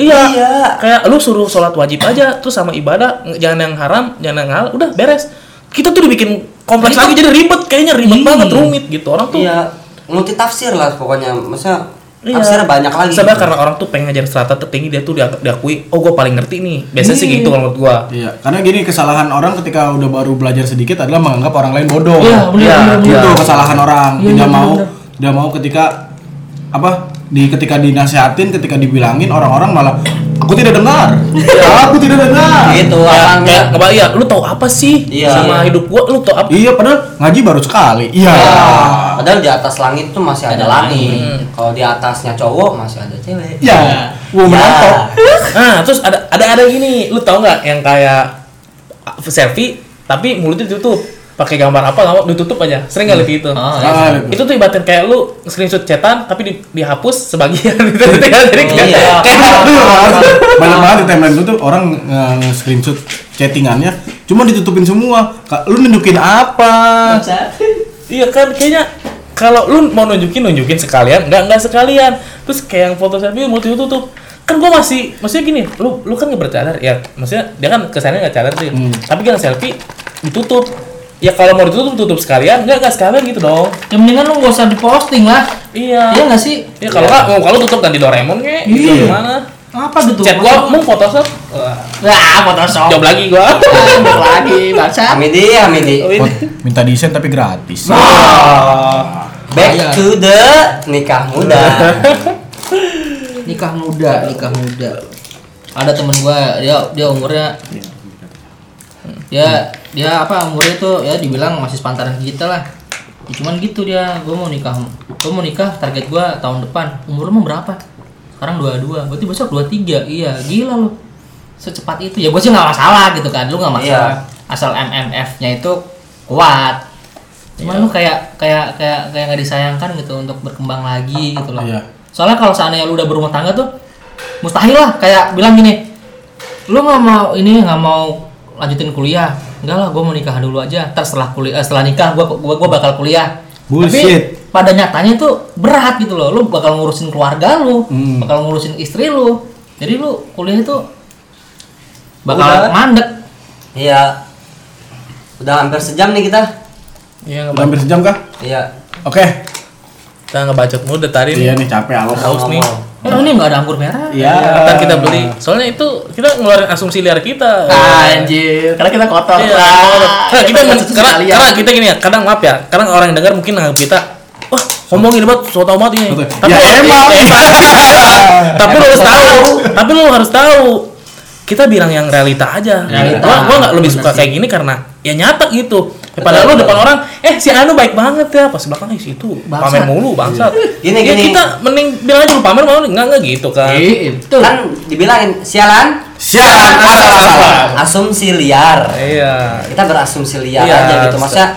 S6: iya
S3: Iya.
S6: kayak lu suruh sholat wajib aja terus sama ibadah nge- jangan yang haram jangan yang halal udah beres kita tuh dibikin kompleks lagi jadi ribet kayaknya ribet banget rumit gitu orang tuh
S3: Iya, multi tafsir lah pokoknya. Maksudnya
S6: Iya.
S3: tafsir banyak lagi.
S6: Sebab karena orang tuh pengen ngajar strata tertinggi dia tuh diak- diakui, oh gue paling ngerti nih. Biasanya sih gitu kalau menurut gua.
S2: Iya. Karena gini kesalahan orang ketika udah baru belajar sedikit adalah menganggap orang lain bodoh.
S4: Iya, bener,
S6: Iya,
S4: bener, bener.
S2: itu Gitu, kesalahan orang
S4: Iya,
S2: tidak
S4: bener,
S2: mau
S4: bener.
S2: tidak mau ketika apa di ketika dinasehatin ketika dibilangin orang-orang malah aku tidak dengar aku tidak dengar
S3: gitu
S6: Ya,
S3: orangnya.
S6: kayak kebalik ya, lu tau apa sih
S3: Iya.
S6: sama hidup gua? Lu tau apa?
S2: iya padahal ngaji baru sekali iya
S3: Ya, Padahal di atas langit tuh masih ada
S4: Ada
S3: langit.
S6: Hmm.
S3: Kalau di atasnya cowok masih ada cewek. Iya.
S2: ya wow menantok
S6: Nah, terus ada ada ada gini, lu tau nggak yang kayak ah, selfie tapi mulutnya ditutup pakai gambar apa nggak ditutup aja sering kali itu
S4: Ah,
S2: Ah,
S6: itu tuh ibaratnya kayak lu screenshot cetan tapi di- dihapus sebagian gitu jadi kayak
S3: Iya.
S6: kayak-
S2: Aduh, gitu, banyak banget di timeline itu tuh orang nge screenshot chattingannya cuma ditutupin semua Ka- lu nunjukin apa
S6: Iya kan kayaknya kalau lu mau nunjukin nunjukin sekalian, nggak nggak sekalian. Terus kayak yang foto selfie mau tutup kan gue masih maksudnya gini lu lu kan nggak bercadar ya maksudnya dia kan kesannya nggak cadar sih tapi kan selfie ditutup ya kalau mau ditutup tutup sekalian nggak nggak sekalian gitu dong
S4: Ya mendingan lu nggak usah diposting lah.
S6: iya
S4: Iya nggak sih?
S6: ya kalau nggak mau kalau tutup ganti Doraemon kayak gitu
S4: Iya.
S6: gimana
S4: Apa gitu?
S6: chat gua mau Photoshop
S4: Wah, Photoshop.
S6: jawab lagi gua
S4: Jawab lagi, baca.
S3: Amidi, Amidi.
S6: Oh, ini.
S2: Pot- minta desain tapi gratis
S3: Back to the nikah muda.
S4: Nikah muda, nikah muda. Ada temen gua, dia dia umurnya dia dia apa umurnya tuh ya dibilang masih sepantaran kita lah Ya, cuman gitu dia gue mau nikah gue mau nikah target gue tahun depan umur lu mau berapa sekarang 22 berarti besok 23 iya gila lu secepat itu ya gue sih nggak masalah gitu kan lu nggak masalah asal MMF nya itu kuat cuman
S2: Iya.
S4: lu kayak kayak kayak kayak nggak disayangkan gitu untuk berkembang lagi gitu loh
S2: Iya.
S4: soalnya kalau seandainya lu udah berumah tangga tuh mustahil lah kayak bilang gini lu nggak mau ini nggak mau lanjutin kuliah enggak lah gue mau nikah dulu aja Ntar setelah kuliah eh, setelah nikah gue gua, gua bakal kuliah
S2: Bullshit.
S4: tapi pada nyatanya itu berat gitu loh lu bakal ngurusin keluarga lu
S2: Hmm.
S4: bakal ngurusin istri lu jadi lu kuliah itu bakal
S3: Udah.
S4: mandek
S3: Iya. Udah hampir sejam nih kita.
S6: iya
S2: udah
S6: ngebaca
S2: hampir sejam kah
S3: Iya.
S2: oke
S6: kita ngebaca mulu dari tadi nih.
S2: iya nih capek alos
S6: haus nih
S4: Eh, ini nggak ada anggur merah
S2: Iya.
S6: Ntar kita beli. Soalnya itu kita ngeluarin asumsi liar kita.
S4: Ah, anjir karena kita kotor
S6: Iya. Nah,
S4: Iya.
S6: kita men- karena, karena kita gini ya, kadang maaf ya, kadang orang yang dengar mungkin nganggap kita wah ngomongin banget so tau banget ini.
S2: Betul.
S6: Tapi
S2: Ya, emang.
S6: tapi lu harus tahu, tapi lu harus tahu kita bilang yang realita aja.
S4: Realita.
S6: Gua gua nggak lebih
S4: Bener
S6: suka
S4: sih.
S6: kayak gini karena ya nyata gitu. Daripada lu depan orang, eh si Anu baik banget ya, pas di belakang eh si itu pamer
S4: Bangsat.
S6: mulu bangsat.
S3: Gini,
S6: ya,
S3: gini.
S6: kita mending bilang aja lu pamer mau enggak enggak gitu kan.
S4: itu
S3: Kan dibilangin sialan
S2: sialan asal-asalan
S3: asumsi liar.
S6: Iya.
S3: Nah, kita berasumsi liar
S6: Iya,
S3: aja gitu maksudnya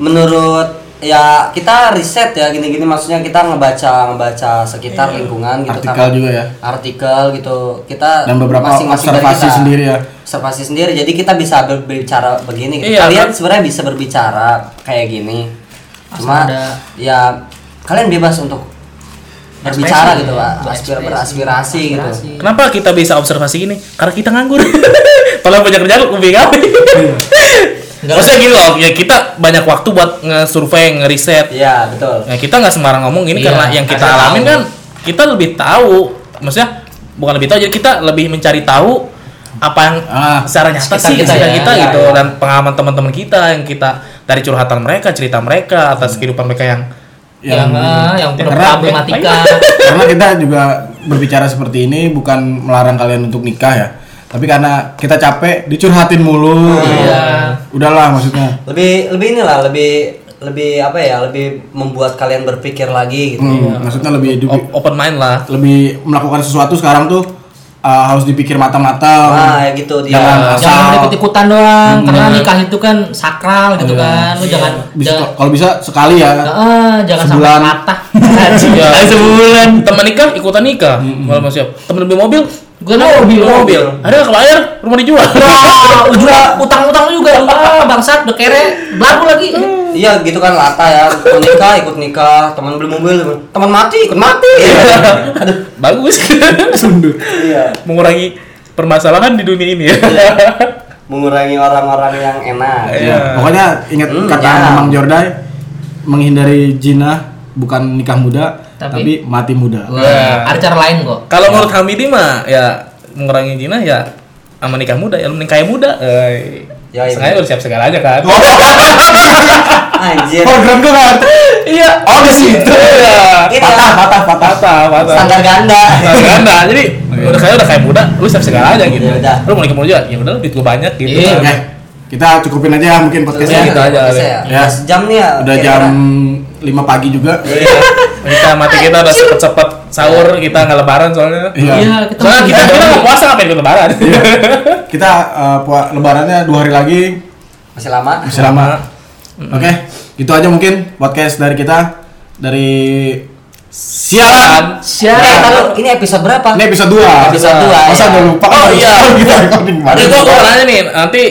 S3: menurut ya kita riset ya gini-gini maksudnya kita ngebaca ngebaca sekitar lingkungan gitu
S2: Iya. Artikel
S3: kan.
S2: juga ya.
S3: artikel gitu kita
S2: Dan beberapa
S3: dari
S2: observasi sendiri ya.
S3: observasi sendiri jadi kita bisa berbicara begini gitu.
S6: Iya,
S3: kalian
S6: kan?
S3: sebenarnya bisa berbicara kayak gini cuma
S4: Asal ada-
S3: ya kalian bebas untuk berbicara gitu pak Aspir- beraspirasi gitu
S6: Kenapa kita bisa observasi gini? Karena kita nganggur. Kalau banyak kerjaan lebih gawe. Maksudnya gini loh, ya kita banyak waktu buat nge-survey, ngeriset.
S3: Iya betul
S6: Nah, kita nggak sembarang ngomong ini
S4: Iya,
S6: karena yang kita
S4: ada
S6: alamin
S4: tahu.
S6: kan kita lebih tahu. Maksudnya bukan lebih tahu, jadi kita lebih mencari tahu apa yang
S2: Ah,
S6: secara nyata
S4: sekitar
S6: sih
S4: kita
S6: kita,
S4: ya,
S6: kita
S3: iya,
S6: gitu
S3: iya.
S6: dan pengalaman teman-teman kita yang kita dari curhatan mereka, cerita mereka atas kehidupan mereka yang
S4: yang eh, yang
S6: yang
S4: problematika
S2: karena kita juga berbicara seperti ini bukan melarang kalian untuk nikah ya
S1: tapi karena kita capek dicurhatin mulu
S3: Iya.
S1: udahlah maksudnya
S3: lebih lebih inilah lebih lebih apa ya lebih membuat kalian berpikir lagi gitu
S1: Hmm, maksudnya lebih
S6: O- open mind lah
S1: lebih melakukan sesuatu sekarang tuh uh, harus dipikir matang-matang
S3: Nah, ya gitu dia.
S1: jangan asal
S4: jangan ikut ikutan doang karena nikah itu kan sakral gitu kan
S6: Iya.
S4: lu jangan
S3: iya.
S1: bisa,
S4: jangan
S1: kalau bisa sekali ya
S4: Ah, jangan
S1: Sebulan.
S4: sampai patah
S6: Iya.
S4: Kali sebulan
S6: teman nikah ikutan nikah malah masih temen beli mobil
S4: gue mau mobil
S6: mobil ada nggak kelayar rumah dijual
S4: Wah, juga utang-utang juga ah, bangsat udah kere belagu lagi
S3: Iya gitu kan lata ya, teman nikah ikut nikah, teman beli mobil, teman mati ikut mati.
S1: Iya.
S6: bagus sundut
S3: Iya,
S6: mengurangi permasalahan di dunia ini ya.
S3: Mengurangi orang-orang yang enak.
S1: Ya, pokoknya ingat
S3: Hmm,
S1: kata
S3: ya.
S1: Mang Jordai menghindari zina bukan nikah muda tapi,
S4: Tapi-
S1: mati muda.
S4: Wah, ada cara lain kok
S6: kalau menurut Hamidi mah ya mengurangi zina ya sama nikah muda ya lu menikah muda eh
S3: Ya, Oh, iya.
S6: sengaja udah siap segala aja kan
S3: Anjir.
S1: Program gue kan.
S6: iya
S1: Oh di situ.
S3: Iya. Ini
S1: Oh, Patah,
S3: lah,
S1: patah, patah.
S6: patah patah
S3: standar ganda.
S6: Ganda, jadi udah kayak udah kayak muda, lu siap segala aja gitu.
S3: Ya Oh, iya. udah.
S6: Lu mau nikah muda juga, ya udah duit gua banyak gitu.
S4: Iya.
S1: Oke, kita cukupin aja mungkin
S3: Iya,
S1: podcastnya.
S6: gitu aja,
S3: bisa
S6: Beb.
S3: ya.
S1: Ya.
S3: Udah Sejam nih ya.
S1: Udah
S3: kira-kira.
S1: jam 5 pagi juga.
S6: Iya. Kita mati kita udah cepet-cepet sahur, kita nggak lebaran soalnya.
S1: Iya.
S4: kita
S6: Soalnya
S4: masih-
S6: kita kita nggak puasa ngapain ikut lebaran.
S1: Kita eh, pua- lebarannya dua hari lagi
S3: Masih lama.
S1: masih
S6: Iya.
S1: lama. Oke, gitu aja mungkin podcast dari kita dari siaran.
S3: Eh,
S4: Sialan.
S3: ntar lu, ini episode berapa?
S1: Ini episode 2.
S3: Episode dua,
S1: Masa
S3: ya.
S1: udah lupa kan
S6: Oh, iya.
S1: kita recording
S6: Tapi
S1: kemarin.
S6: gua mau nanya nih, nanti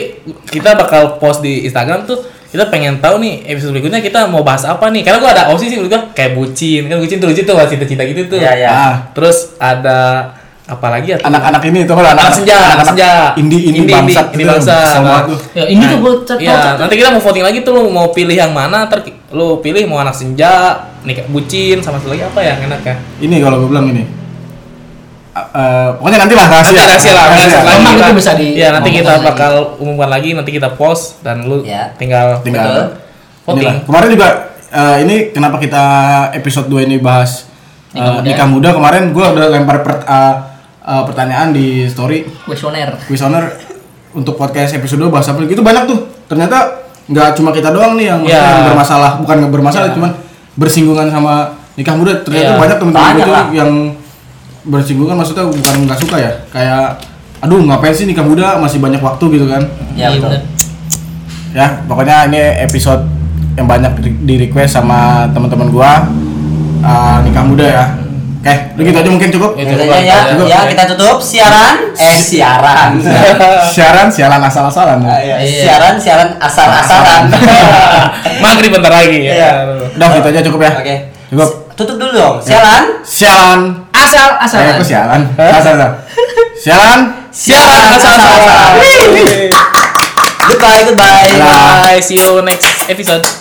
S6: kita bakal post di Instagram tuh kita pengen tahu nih episode berikutnya kita mau bahas apa nih karena gua ada opsi sih menurut gua kayak bucin kan bucin tuh lucu tuh bahas cinta-cinta gitu tuh
S3: Iya, iya.
S1: Ah.
S6: terus ada apa lagi ya
S1: anak-anak ini tuh kalau
S6: anak senja, anak senja.
S1: Indi ini
S6: Indi,
S1: bangsat
S6: Indi,
S1: gitu,
S6: Indi bangsat.
S1: kesel banget tuh.
S4: ya ini tuh gue cocok
S6: Iya, nanti kita mau voting lagi tuh lu mau pilih yang mana, ntar ki- lu pilih mau anak senja, nikah bucin, sama satu lagi apa yang enak ya?
S1: Ini kalau gue bilang ini. A- eh, pokoknya nanti lah rahasia.
S6: Nanti rahasia lah, rahasia lagi
S4: ya. Memang
S6: kita-
S4: itu bisa di-
S6: Iya, nanti kita
S4: ngomongkan lagi.
S6: bakal umumkan lagi, nanti kita post dan lu
S3: Iya.
S6: tinggal
S1: Tinggal.
S3: Betul.
S6: Voting.
S1: Inilah. Kemarin juga eh, ini kenapa kita episode 2 ini bahas eh,
S4: Nikah muda.
S1: nikah muda. Kemarin gue udah lempar per- eh, eh, pertanyaan di story
S4: kuesioner
S1: quiz owner untuk podcast episode 2 bahas apa itu banyak tuh. Ternyata nggak cuma kita doang nih yang,
S6: Iya.
S1: yang bermasalah, bukan nggak bermasalah cuman bersinggungan sama nikah muda. Ternyata
S6: Iya.
S1: banyak teman-teman gue
S3: Banyak
S1: tuh
S3: lah.
S1: yang bersinggungan maksudnya bukan nggak suka ya. Kayak aduh ngapain sih nikah muda masih banyak waktu gitu kan.
S3: Ya,
S6: Iya,
S4: Iya,
S3: betul.
S1: Ya, pokoknya ini episode yang banyak di- di request sama teman-teman gua uh, nikah muda ya. Oke, udah gitu aja mungkin cukup.
S6: Itu
S3: Biasanya ya,
S6: Cukup.
S3: ya kita tutup siaran, eh siaran,
S1: siaran siaran asal-asalan.
S3: Ah, iya.
S4: Iya.
S3: siaran, siaran asal-asalan.
S6: Maghrib bentar lagi ya.
S3: Iya.
S1: Udah gitu aja cukup ya.
S3: Oke,
S1: Cukup.
S3: tutup dulu dong. Siaran.
S1: Siaran.
S4: asal
S1: Eh,
S4: asalan
S1: aku siaran. Asal asal. Siaran.
S6: Siaran Nah. asal-asalan.
S3: Goodbye, goodbye.
S1: Dah.
S6: Bye, see you next episode.